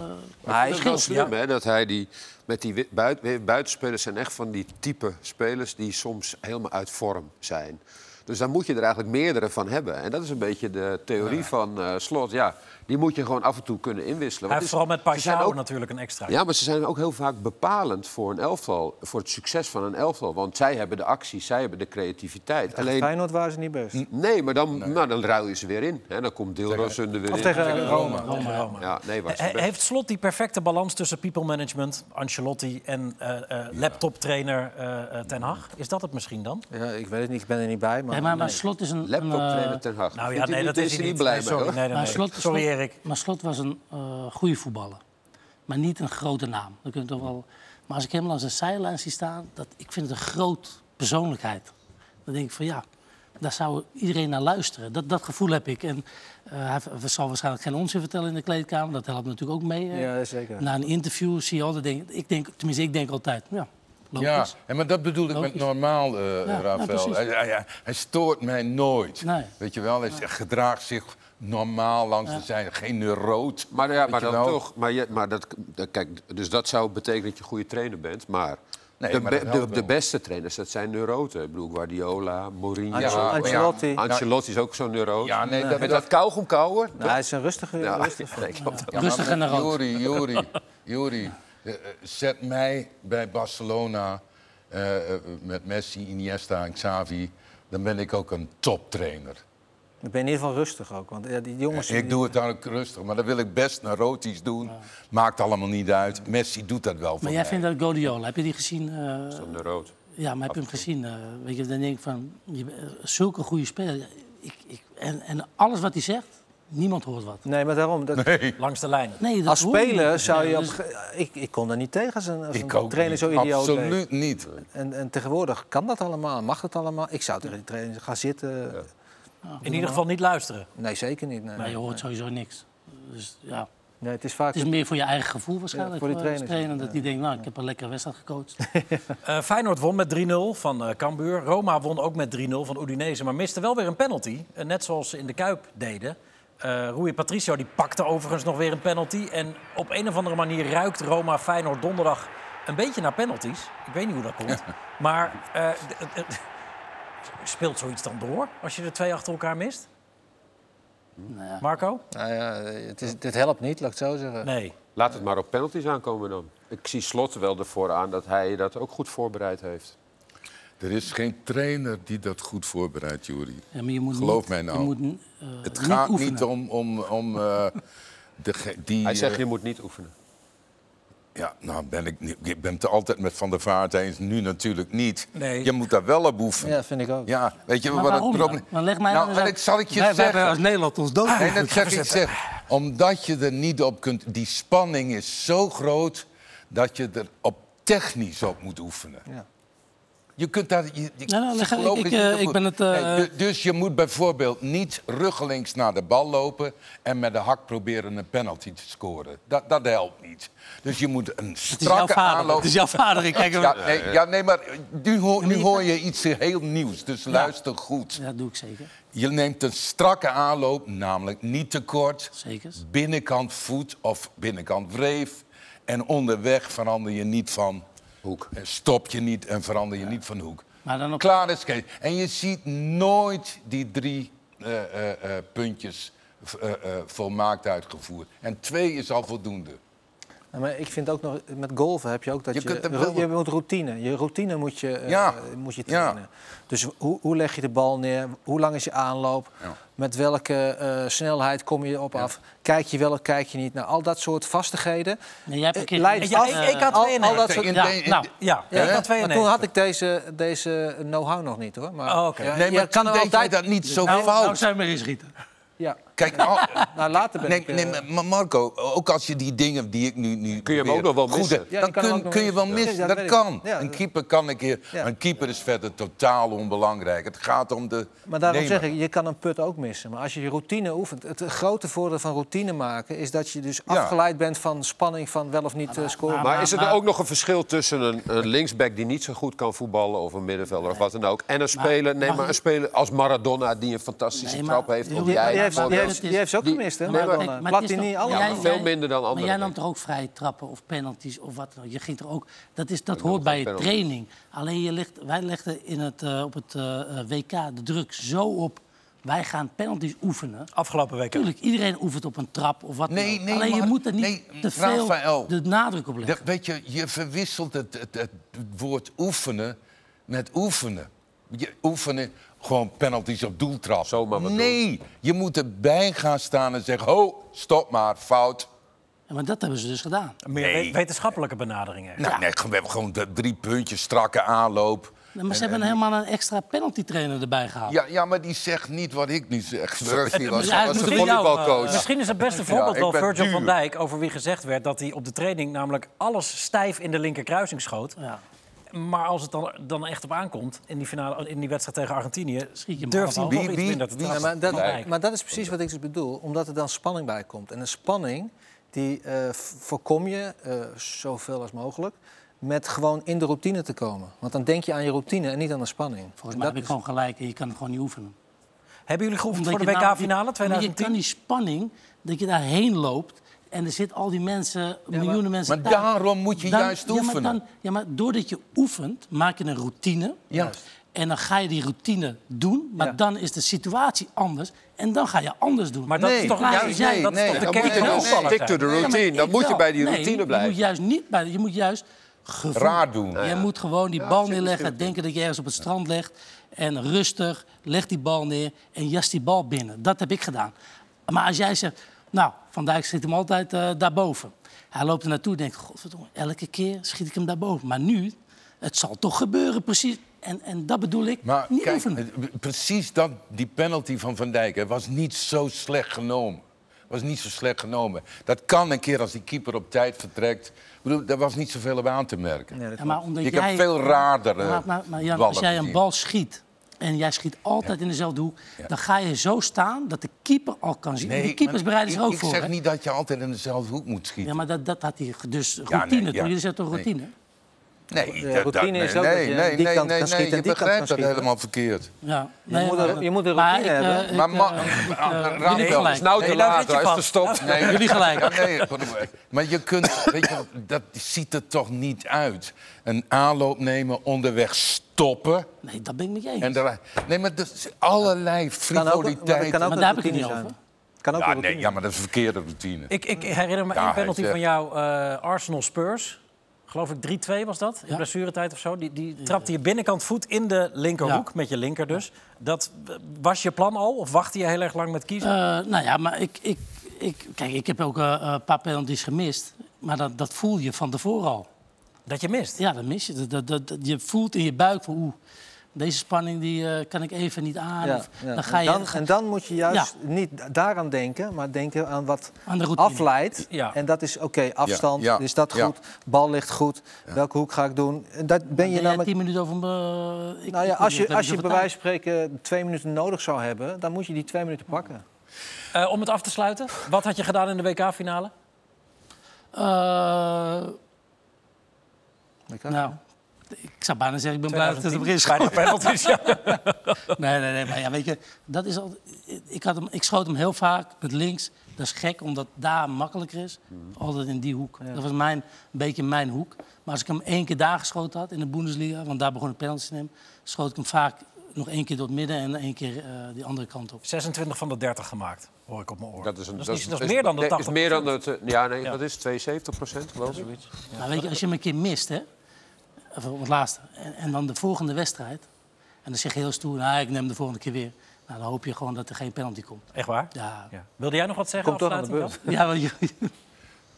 Speaker 1: Maar hij
Speaker 2: Dat is wel slim, hè? Dat hij die, met die wi- buit- eh, buitenspelers zijn echt van die type spelers die soms helemaal uit vorm zijn. Dus daar moet je er eigenlijk meerdere van hebben. En dat is een beetje de theorie van eh, Slot. Ja, die moet je gewoon af en toe kunnen inwisselen.
Speaker 1: Hij
Speaker 2: Want
Speaker 1: heeft
Speaker 2: het
Speaker 1: vooral
Speaker 2: is-
Speaker 1: met
Speaker 2: dus ze zijn
Speaker 1: Paixão
Speaker 2: ook-
Speaker 1: natuurlijk een extra.
Speaker 2: Ja, maar ze zijn ook heel vaak bepalend voor een elftal. Voor het succes van een elftal. Want zij hebben de actie, zij hebben de creativiteit.
Speaker 3: Alleen...
Speaker 2: Alleen,
Speaker 3: Feyenoord waren ze niet best.
Speaker 2: nee, maar dan, Nou, dan ruil je ze weer in. En dan komt Dilrosun er weer
Speaker 3: Of
Speaker 2: in.
Speaker 3: tegen Roma.
Speaker 1: Roma, Roma.
Speaker 2: Ja, nee, waar ze
Speaker 1: He-
Speaker 2: best-
Speaker 1: heeft Slot die perfecte balans tussen people management, Ancelotti en eh, eh, laptoptrainer eh, eh, Ten Hag? Is dat het misschien dan?
Speaker 3: Ja, ik weet het niet, ik ben er niet bij. Maar,
Speaker 4: Nee, maar, maar Slot is een... een,
Speaker 2: Laptop
Speaker 4: eh,
Speaker 2: trainer ten Hag.
Speaker 1: Nou ja,
Speaker 2: Vindt hij
Speaker 1: nee,
Speaker 2: niet-
Speaker 1: dat is hij
Speaker 2: niet
Speaker 1: niet.
Speaker 2: blij
Speaker 1: Nee,
Speaker 2: mee.
Speaker 1: sorry,
Speaker 2: hoor.
Speaker 1: nee, nee,
Speaker 4: maar,
Speaker 1: nee.
Speaker 4: Slot,
Speaker 1: sorry
Speaker 4: Slot-
Speaker 1: Erik.
Speaker 4: maar Slot was een eh goede voetballer. Maar niet een grote naam. Dat kun je toch wel... Maar als ik hem langs de zijlijn zie staan, dat, ik vind het een groot persoonlijkheid. Dan denk ik van ja, daar zou iedereen naar luisteren. Dat, dat gevoel heb ik. En eh, hij v- zal waarschijnlijk geen onzin vertellen in de kleedkamer. Dat helpt natuurlijk ook mee. eh.
Speaker 3: Ja, zeker.
Speaker 4: Na een interview zie je altijd dingen. Ik denk, tenminste, ik denk altijd, ja,
Speaker 5: Ja,
Speaker 4: logisch.
Speaker 5: en maar dat bedoel ik met
Speaker 4: Logisch.
Speaker 5: normaal, eh
Speaker 4: ja, nou,
Speaker 5: Rafael.
Speaker 4: precies.
Speaker 5: hij, hij- hij- hij stoort mij nooit.
Speaker 4: Nee.
Speaker 5: Weet je wel, hij zegt, gedraagt zich normaal langs de zijde. Geen neuroot.
Speaker 2: Maar ja,
Speaker 5: weet
Speaker 2: maar
Speaker 5: je
Speaker 2: dan
Speaker 5: wel.
Speaker 2: toch. Maar, je, maar dat, dat- kijk, dus dat zou betekenen dat je goede trainer bent. Maar,
Speaker 5: Nee,
Speaker 2: de,
Speaker 5: maar
Speaker 2: be-
Speaker 5: dat helpt
Speaker 2: de, de
Speaker 5: wel.
Speaker 2: beste trainers, dat zijn neuroten. Ik bedoel, Guardiola, Mourinho.
Speaker 5: Ja,
Speaker 2: Ja,
Speaker 3: Ancelotti.
Speaker 2: Ancelotti is ook zo'n neuroot.
Speaker 5: Ja, nee, dat-
Speaker 2: Met dat kauwgomkauwer.
Speaker 3: Nou, hij is een rustige...
Speaker 2: Ja,
Speaker 3: rustige-
Speaker 2: nee, klopt.
Speaker 5: Ja,
Speaker 4: Rustig
Speaker 5: maar
Speaker 4: en
Speaker 5: met
Speaker 4: naar rood.
Speaker 5: Jori, Jori, Jori. eh, eh, zet mij bij Barcelona eh, eh, met Messi, Iniesta en Xavi. Dan ben ik ook een toptrainer.
Speaker 3: Ik ben in ieder geval rustig ook, want ja, die jongens...
Speaker 5: Ik doe het dan ook rustig, maar dan wil ik best neurotisch doen. Maakt allemaal niet uit. Messi doet dat wel voor
Speaker 4: Maar
Speaker 5: mij.
Speaker 4: jij vindt dat Guardiola, heb je die gezien? eh,
Speaker 2: Zo'n neuroot.
Speaker 4: Ja, maar heb je hem gezien? eh, weet je, dan denk ik van, je, bent zulke goede speler. Ja, Ik, ik, en, en alles wat hij zegt, niemand hoort wat.
Speaker 3: Nee, maar daarom... Dat...
Speaker 1: Langs de lijn.
Speaker 4: Nee, dat
Speaker 3: Als
Speaker 4: hoor niet.
Speaker 3: speler zou je...
Speaker 4: Ja,
Speaker 3: Op...
Speaker 4: dus-
Speaker 3: ge- Ik, ik kon er niet tegen als een, als
Speaker 5: Ik
Speaker 3: een
Speaker 5: ook
Speaker 3: trainer
Speaker 5: niet.
Speaker 3: zo idioot deed.
Speaker 5: Absoluut niet.
Speaker 3: En, en tegenwoordig kan dat allemaal, mag dat allemaal. Ik zou tegen die trainer gaan zitten.
Speaker 1: In ieder geval niet luisteren.
Speaker 3: Nee, zeker niet. Nee,
Speaker 4: Maar
Speaker 3: nee,
Speaker 4: je hoort sowieso niks. Dus ja,
Speaker 3: Nee, het is vaak...
Speaker 4: het is meer voor je eigen gevoel waarschijnlijk.
Speaker 3: Ja, voor die
Speaker 4: eh, als
Speaker 3: trainers,
Speaker 4: trainer, dat die denkt, nou, ik heb een lekkere wedstrijd gecoacht.
Speaker 1: Eh, Feyenoord won met 3-0 van eh, Cambuur. Roma won ook met 3-0 van Udinese, maar miste wel weer een penalty. Eh, net zoals ze in de Kuip deden. Eh Rui Patricio die pakte overigens nog weer een penalty. En op een of andere manier ruikt Roma Feyenoord donderdag een beetje naar penalties. Ik weet niet hoe dat komt. Maar eh, d- d- d- speelt zoiets dan door als je er twee achter elkaar mist? Marco?
Speaker 3: Nou ja,
Speaker 5: eh,
Speaker 3: het, is, dit helpt niet, laat ik het zo zeggen.
Speaker 1: Nee.
Speaker 2: Laat het maar op penalties aankomen dan. Ik zie Slot wel ervoor aan dat hij dat ook goed voorbereid heeft.
Speaker 5: Er is geen trainer die dat goed voorbereidt, Jori.
Speaker 4: Ja, maar je moet
Speaker 5: Geloof
Speaker 4: niet,
Speaker 5: mij nou.
Speaker 4: Je moet, eh,
Speaker 5: Het
Speaker 4: niet
Speaker 5: gaat niet,
Speaker 4: oefenen.
Speaker 5: om, om, om eh, de, ge- die...
Speaker 2: Hij zegt,
Speaker 5: eh,
Speaker 2: je moet niet oefenen.
Speaker 5: Ja, nou ben ik, niet- ik ben het altijd met Van der Vaart eens. Nu natuurlijk niet.
Speaker 1: Nee.
Speaker 5: Je moet daar wel op oefenen.
Speaker 3: Ja,
Speaker 5: Ja,
Speaker 3: vind ik ook.
Speaker 5: weet je
Speaker 4: Maar
Speaker 5: wat
Speaker 4: waarom
Speaker 5: het
Speaker 4: dan?
Speaker 5: probleem...
Speaker 4: Maar leg mij
Speaker 5: nou,
Speaker 4: aan, dan
Speaker 5: Alex, zal ik je
Speaker 4: wij, wij
Speaker 5: zeggen...
Speaker 4: hebben als Nederland ons dood.
Speaker 5: Nee, dat zeg ik zeg. Omdat je er niet op kunt... Die spanning is zo groot dat je er op technisch op moet oefenen.
Speaker 3: Ja.
Speaker 5: Je kunt daar... Je, je-
Speaker 4: Nou, nou, leg-
Speaker 5: geloof
Speaker 4: ik-
Speaker 5: is
Speaker 4: ik,
Speaker 5: niet
Speaker 4: eh,
Speaker 5: op-
Speaker 4: ik ben het, eh,
Speaker 5: du- dus je moet bijvoorbeeld niet ruggelings naar de bal lopen... en met de hak proberen een penalty te scoren. Dat, dat helpt niet. Dus je moet een
Speaker 4: Het is jouw
Speaker 5: strakke
Speaker 4: vader.
Speaker 5: aanloop...
Speaker 4: Het is jouw vader. Ik kijk hem-
Speaker 5: Ja, nee, ja, nee, maar nu hoor, nu
Speaker 4: je-
Speaker 5: hoor je iets heel nieuws, dus luister goed.
Speaker 4: Ja, dat doe ik zeker.
Speaker 5: Je neemt een strakke aanloop, namelijk niet te kort.
Speaker 4: Zeker.
Speaker 5: Binnenkant voet of binnenkant wreef. En onderweg verander je niet van hoek. Stop je niet en verander je niet van hoek.
Speaker 4: Maar dan op-
Speaker 5: Klaar is Kees. En je ziet nooit die drie eh, eh, eh, puntjes eh, eh, volmaakt uitgevoerd. En twee is al voldoende.
Speaker 3: Ja, Maar ik vind ook nog, met golven heb je ook dat
Speaker 5: Je
Speaker 3: je...
Speaker 5: kunt hem
Speaker 3: ro-
Speaker 5: wel-
Speaker 3: je moet routine. Je routine moet je, eh,
Speaker 5: Ja.
Speaker 3: moet je
Speaker 5: Ja.
Speaker 3: trainen. Dus hoe, hoe leg je de bal neer? Hoe lang is je aanloop? Met welke eh, snelheid kom je op af? Kijk je wel of kijk je niet? Nou, al dat soort vastigheden.
Speaker 4: Nee, jij hebt een
Speaker 3: Eh,
Speaker 4: keer-
Speaker 3: leidt
Speaker 1: Ja,
Speaker 3: af-
Speaker 1: ik- ik had
Speaker 3: al-
Speaker 1: twee en
Speaker 3: al
Speaker 1: één.
Speaker 3: dat soort
Speaker 5: In-
Speaker 4: Ja,
Speaker 5: in-
Speaker 4: nou,
Speaker 1: Ja,
Speaker 3: Ja,
Speaker 1: ik had
Speaker 3: maar
Speaker 1: 2 en
Speaker 3: toen
Speaker 1: 1.
Speaker 3: had ik deze, deze know-how nog niet hoor. Maar,
Speaker 1: Oh, oké.
Speaker 3: ja,
Speaker 5: Nee, maar
Speaker 3: je kan er
Speaker 5: deed jij
Speaker 3: altijd...
Speaker 5: dat niet zo
Speaker 4: Nou,
Speaker 5: fout.
Speaker 4: nou zijn we erin schieten.
Speaker 3: Ja.
Speaker 5: Kijk, al-
Speaker 3: Nou, later ben
Speaker 5: Ah, nee,
Speaker 3: ik... eh,
Speaker 5: nee, maar Marco, ook als je die dingen die ik nu... nu
Speaker 2: Kun je hem
Speaker 5: probeer
Speaker 2: ook nog wel
Speaker 5: goed-
Speaker 2: missen.
Speaker 3: Ja,
Speaker 5: dan
Speaker 3: die kan hem ook
Speaker 5: kun,
Speaker 3: nog
Speaker 5: kun je wel
Speaker 3: missen.
Speaker 5: missen,
Speaker 3: Ja, dat
Speaker 5: dat
Speaker 3: weet ik.
Speaker 5: kan.
Speaker 3: Ja.
Speaker 5: Een keeper kan een keer...
Speaker 3: Ja.
Speaker 5: Een keeper is verder totaal onbelangrijk. Het gaat om de...
Speaker 3: Maar daarom
Speaker 5: nemer.
Speaker 3: zeg ik, je kan een put ook missen. Maar als je je routine oefent... Het grote voordeel van routine maken... is dat je dus
Speaker 5: Ja.
Speaker 3: afgeleid bent van spanning van wel of niet eh, scoren.
Speaker 2: Maar
Speaker 4: Ah, Maar-
Speaker 2: is er
Speaker 4: maar-
Speaker 2: ook nog een verschil tussen een, een linksback die niet zo goed kan voetballen... of een middenvelder of wat dan ook... en een speler, nee,
Speaker 4: mag
Speaker 2: maar
Speaker 4: ik-
Speaker 2: een speler als Maradona die een fantastische
Speaker 4: Nee, maar-
Speaker 2: trap heeft...
Speaker 4: Maar
Speaker 2: op
Speaker 4: die
Speaker 2: jij,
Speaker 3: die,
Speaker 4: Ja,
Speaker 3: heeft,
Speaker 4: maar
Speaker 3: die,
Speaker 4: dat
Speaker 3: heeft,
Speaker 4: is-
Speaker 3: die heeft ze ook
Speaker 2: die-
Speaker 3: gemist, hè?
Speaker 2: Nee, maar-
Speaker 3: Maradona.
Speaker 4: Kijk, maar het is
Speaker 3: Platini,
Speaker 4: toch-
Speaker 3: alle-
Speaker 2: Ja, maar veel minder dan
Speaker 4: Maar
Speaker 2: andere
Speaker 4: jij nam
Speaker 2: mensen.
Speaker 4: toch ook vrije trappen of penalties of wat dan ook. Je ging er ook. Dat, is, dat hoort bij je
Speaker 2: penalties.
Speaker 4: training. Alleen je legt, wij legden in het, eh, op het eh, eh, WK de druk zo op. Wij gaan penalties oefenen.
Speaker 1: Afgelopen week. ook.
Speaker 4: Natuurlijk, iedereen oefent op een trap of wat
Speaker 5: Nee,
Speaker 4: dan ook.
Speaker 5: nee,
Speaker 4: Alleen je
Speaker 5: maar-
Speaker 4: moet er niet
Speaker 5: nee,
Speaker 4: te veel
Speaker 5: Rafael.
Speaker 4: de nadruk op leggen.
Speaker 5: Dat, weet je, je verwisselt het, het, het woord oefenen met oefenen. Je oefenen gewoon penalties op doeltrap.
Speaker 2: Zomaar wat
Speaker 5: nee, je moet erbij gaan staan en zeggen: ho, stop maar, fout.
Speaker 4: Ja, Maar dat hebben ze dus gedaan.
Speaker 1: Een Meer we- wetenschappelijke benadering. eh. echt.
Speaker 5: Nou, nee, we hebben gewoon de drie puntjes, strakke aanloop.
Speaker 4: Nee, Maar ze hebben helemaal een extra penalty trainer erbij gehaald.
Speaker 5: Ja, ja, maar die zegt niet wat ik nu zeg. Murphy was,
Speaker 4: hij
Speaker 5: was
Speaker 4: moet
Speaker 5: de
Speaker 4: voor jou,
Speaker 5: volleybalcoach.
Speaker 1: Eh, Misschien is het beste voorbeeld
Speaker 5: ik
Speaker 1: wel
Speaker 5: ben
Speaker 1: Virgil
Speaker 5: duur.
Speaker 1: van Dijk, over wie gezegd werd dat hij op de training namelijk alles stijf in de linkerkruising schoot.
Speaker 4: Ja.
Speaker 1: Maar als het dan, dan echt op aankomt in die, finale, in die wedstrijd tegen Argentinië,
Speaker 4: Schiet je hem
Speaker 1: durft hij
Speaker 4: af.
Speaker 1: nog
Speaker 5: Wie-
Speaker 1: iets
Speaker 5: wie-
Speaker 1: minder te
Speaker 5: wie-
Speaker 3: Ja,
Speaker 1: trappen.
Speaker 3: maar,
Speaker 1: Van
Speaker 3: dat,
Speaker 1: Dijk.
Speaker 3: maar dat is precies wat ik dus bedoel, omdat er dan spanning bij komt. En een spanning die eh, v- voorkom je eh, zoveel als mogelijk met gewoon in de routine te komen. Want dan denk je aan je routine en niet aan de spanning.
Speaker 4: Volgens
Speaker 3: En dat
Speaker 4: mij heb ik
Speaker 3: is-
Speaker 4: gewoon gelijk en je kan het gewoon niet oefenen.
Speaker 1: Hebben jullie geoefend
Speaker 4: Omdat
Speaker 1: voor de
Speaker 4: je namelijk-
Speaker 1: WK-finale
Speaker 4: omdat Je kan
Speaker 1: 2010?
Speaker 4: die spanning, dat je daarheen loopt en er zitten al die mensen, miljoenen mensen.
Speaker 5: maar
Speaker 4: thuis.
Speaker 5: daarom moet je juist
Speaker 4: Ja
Speaker 5: oefenen.
Speaker 4: maar, dan, ja, maar doordat je oefent, maak je een routine.
Speaker 5: Juist.
Speaker 4: En dan ga je die routine doen, maar dan is de situatie anders en dan ga je anders doen.
Speaker 1: Maar dat
Speaker 5: Nee,
Speaker 1: is toch,
Speaker 4: juist
Speaker 1: dat is
Speaker 5: nee,
Speaker 1: toch
Speaker 5: nee,
Speaker 1: de
Speaker 5: dan
Speaker 1: kern
Speaker 5: moet je
Speaker 1: van
Speaker 5: wel
Speaker 1: voetballer
Speaker 2: stick
Speaker 1: zijn?
Speaker 2: to the
Speaker 4: Nee,
Speaker 2: routine,
Speaker 4: maar
Speaker 2: dan
Speaker 4: ik
Speaker 2: moet je
Speaker 4: wel.
Speaker 2: bij die
Speaker 4: Nee,
Speaker 2: routine blijven.
Speaker 4: Je moet juist niet bij, je moet juist gevoel-
Speaker 5: Raar doen.
Speaker 4: Je moet gewoon die bal neerleggen, denken dat je ergens op het strand legt en rustig leg die bal neer en jas die bal binnen. Dat heb ik gedaan. Maar als jij zegt, nou, Van Dijk schiet hem altijd eh, daarboven. Hij loopt er naartoe en denkt, godverdomme, elke keer schiet ik hem daarboven. Maar nu, het zal toch gebeuren, precies. En, en dat bedoel ik,
Speaker 5: Maar
Speaker 4: niet
Speaker 5: kijk,
Speaker 4: oefenen.
Speaker 5: eh, precies dat, die penalty van Van Dijk hè, was niet zo slecht genomen. Was niet zo slecht genomen. Dat kan een keer als die keeper op tijd vertrekt. Ik bedoel, daar was niet zoveel op aan te merken.
Speaker 4: Ja, maar omdat
Speaker 5: Je kan
Speaker 4: jij,
Speaker 5: veel raarder, eh,
Speaker 4: Maar, maar, maar nou- Jan,
Speaker 5: ballen
Speaker 4: als jij een
Speaker 5: gezien.
Speaker 4: bal schiet en jij schiet altijd in dezelfde hoek, dan ga je zo staan dat de keeper al kan zien. de keepers
Speaker 5: maar
Speaker 4: bereiden zich
Speaker 5: ik-
Speaker 4: ook
Speaker 5: ik
Speaker 4: voor.
Speaker 5: zeg
Speaker 4: hè?
Speaker 5: niet dat je altijd in dezelfde hoek moet schieten.
Speaker 4: Ja, maar dat, dat had hij ge- dus
Speaker 5: Ja,
Speaker 4: routine.
Speaker 5: nee,
Speaker 4: toen.
Speaker 5: ja.
Speaker 4: Jullie zetten toch
Speaker 5: Nee.
Speaker 4: routine?
Speaker 5: Nee,
Speaker 3: De routine is ook dat je aan die kant kan schieten en die kant
Speaker 5: je begrijpt
Speaker 3: kan
Speaker 5: dat
Speaker 3: schieten.
Speaker 5: helemaal verkeerd.
Speaker 4: Ja.
Speaker 3: moet
Speaker 4: maar-
Speaker 3: een- je moet een
Speaker 4: maar
Speaker 3: routine
Speaker 4: ik, eh,
Speaker 3: hebben.
Speaker 4: ik,
Speaker 5: Maar ma-
Speaker 4: eh, ik, eh,
Speaker 5: Raad
Speaker 4: jullie
Speaker 5: wel.
Speaker 4: gelijk.
Speaker 2: is nou te
Speaker 5: Nee,
Speaker 1: daar
Speaker 2: laat,
Speaker 1: zit je
Speaker 2: hij is te
Speaker 1: vast.
Speaker 2: stoppen.
Speaker 5: Nee,
Speaker 4: Jullie gelijk.
Speaker 5: Ja, nee, maar je kunt, weet je, wat, dat ziet er toch niet uit. Een aanloop nemen, onderweg stoppen.
Speaker 4: Nee, dat ben ik met je eens.
Speaker 5: En daar, nee, maar dus allerlei
Speaker 3: kan ook, maar
Speaker 5: frivoliteiten.
Speaker 3: het kan ook
Speaker 4: Maar
Speaker 3: een
Speaker 4: daar heb ik het
Speaker 3: routine
Speaker 4: niet
Speaker 3: zijn.
Speaker 4: over.
Speaker 3: Kan ook
Speaker 5: ja,
Speaker 3: een routine
Speaker 5: nee, ja, maar dat is een verkeerde routine.
Speaker 1: Ik, ik herinner me
Speaker 5: Ja,
Speaker 1: één
Speaker 5: hij
Speaker 1: penalty
Speaker 5: zegt-
Speaker 1: van jou, eh, Arsenal Spurs. Geloof ik 3-2 was dat, in blessuretijd of zo. Die, die trapte je binnenkant voet in de linkerhoek,
Speaker 4: Ja.
Speaker 1: met je linker dus. Dat eh, was je plan al of wachtte je heel erg lang met kiezen?
Speaker 4: Eh, nou ja, maar ik, ik, ik, kijk, ik heb ook eh, eh, een paar penalties gemist. Maar dat, dat voel je van tevoren al.
Speaker 1: dat je mist.
Speaker 4: Ja, dat mis je. Dat, dat, dat- dat- je voelt in je buik van oeh, deze spanning die, eh, kan ik even niet aan.
Speaker 3: Ja,
Speaker 4: Of,
Speaker 3: ja.
Speaker 4: Dan ga je,
Speaker 3: en, dan, en dan moet je juist
Speaker 4: Ja.
Speaker 3: niet da- daaraan denken, maar denken aan wat
Speaker 4: Aan de routine.
Speaker 3: afleidt.
Speaker 1: Ja.
Speaker 3: En dat is oké, afstand,
Speaker 5: ja,
Speaker 3: is dat
Speaker 5: ja.
Speaker 3: goed, bal ligt goed, welke hoek ga ik doen. En dat ben je
Speaker 4: ben
Speaker 3: namelijk
Speaker 4: tien minuten over... me- ik-
Speaker 3: Nou ja,
Speaker 4: ik-
Speaker 3: als
Speaker 4: ik
Speaker 3: je,
Speaker 4: heb
Speaker 3: als
Speaker 4: niet
Speaker 3: je bij
Speaker 4: zoveel
Speaker 3: wijze van spreken twee minuten nodig zou hebben, dan moet je die twee minuten pakken.
Speaker 1: Eh, om het af te sluiten, wat had je gedaan in de WK-finale?
Speaker 4: tijd. Eh,
Speaker 3: Dat kan.
Speaker 4: Nou, ik zou bijna zeggen, ik ben blij dat het er is.
Speaker 1: Bij de penalties, ja.
Speaker 4: Nee, nee, nee. Maar ja, weet je, dat is al, ik, had hem, ik schoot hem heel vaak met links. Dat is gek, omdat daar makkelijker is.
Speaker 3: Mhm.
Speaker 4: Altijd in die hoek. Dat was mijn, een beetje mijn hoek. Maar als ik hem één keer daar geschoten had in de Bundesliga, want daar begon ik penalty te nemen, schoot ik hem vaak nog één keer door het midden en één keer eh, die andere kant op.
Speaker 1: 26 van de 30 gemaakt, hoor ik op mijn oor.
Speaker 2: Dat is, een,
Speaker 1: niet- dat is meer dan de
Speaker 2: nee,
Speaker 1: 80%.
Speaker 2: Is meer dan het, eh, ja, nee, wat is het, 72 geloof ik?
Speaker 4: Maar weet je, als je hem een keer mist, hè, of op het laatste, en, en dan de volgende wedstrijd, en dan zeg je heel stoer, nou, ik neem hem de volgende keer weer. Nou, dan hoop je gewoon dat er geen penalty komt.
Speaker 1: Echt waar?
Speaker 4: Ja.
Speaker 1: Ja. Wilde jij nog wat zeggen?
Speaker 3: Komt toch aan de
Speaker 1: afsluitend,
Speaker 4: Ja, maar je-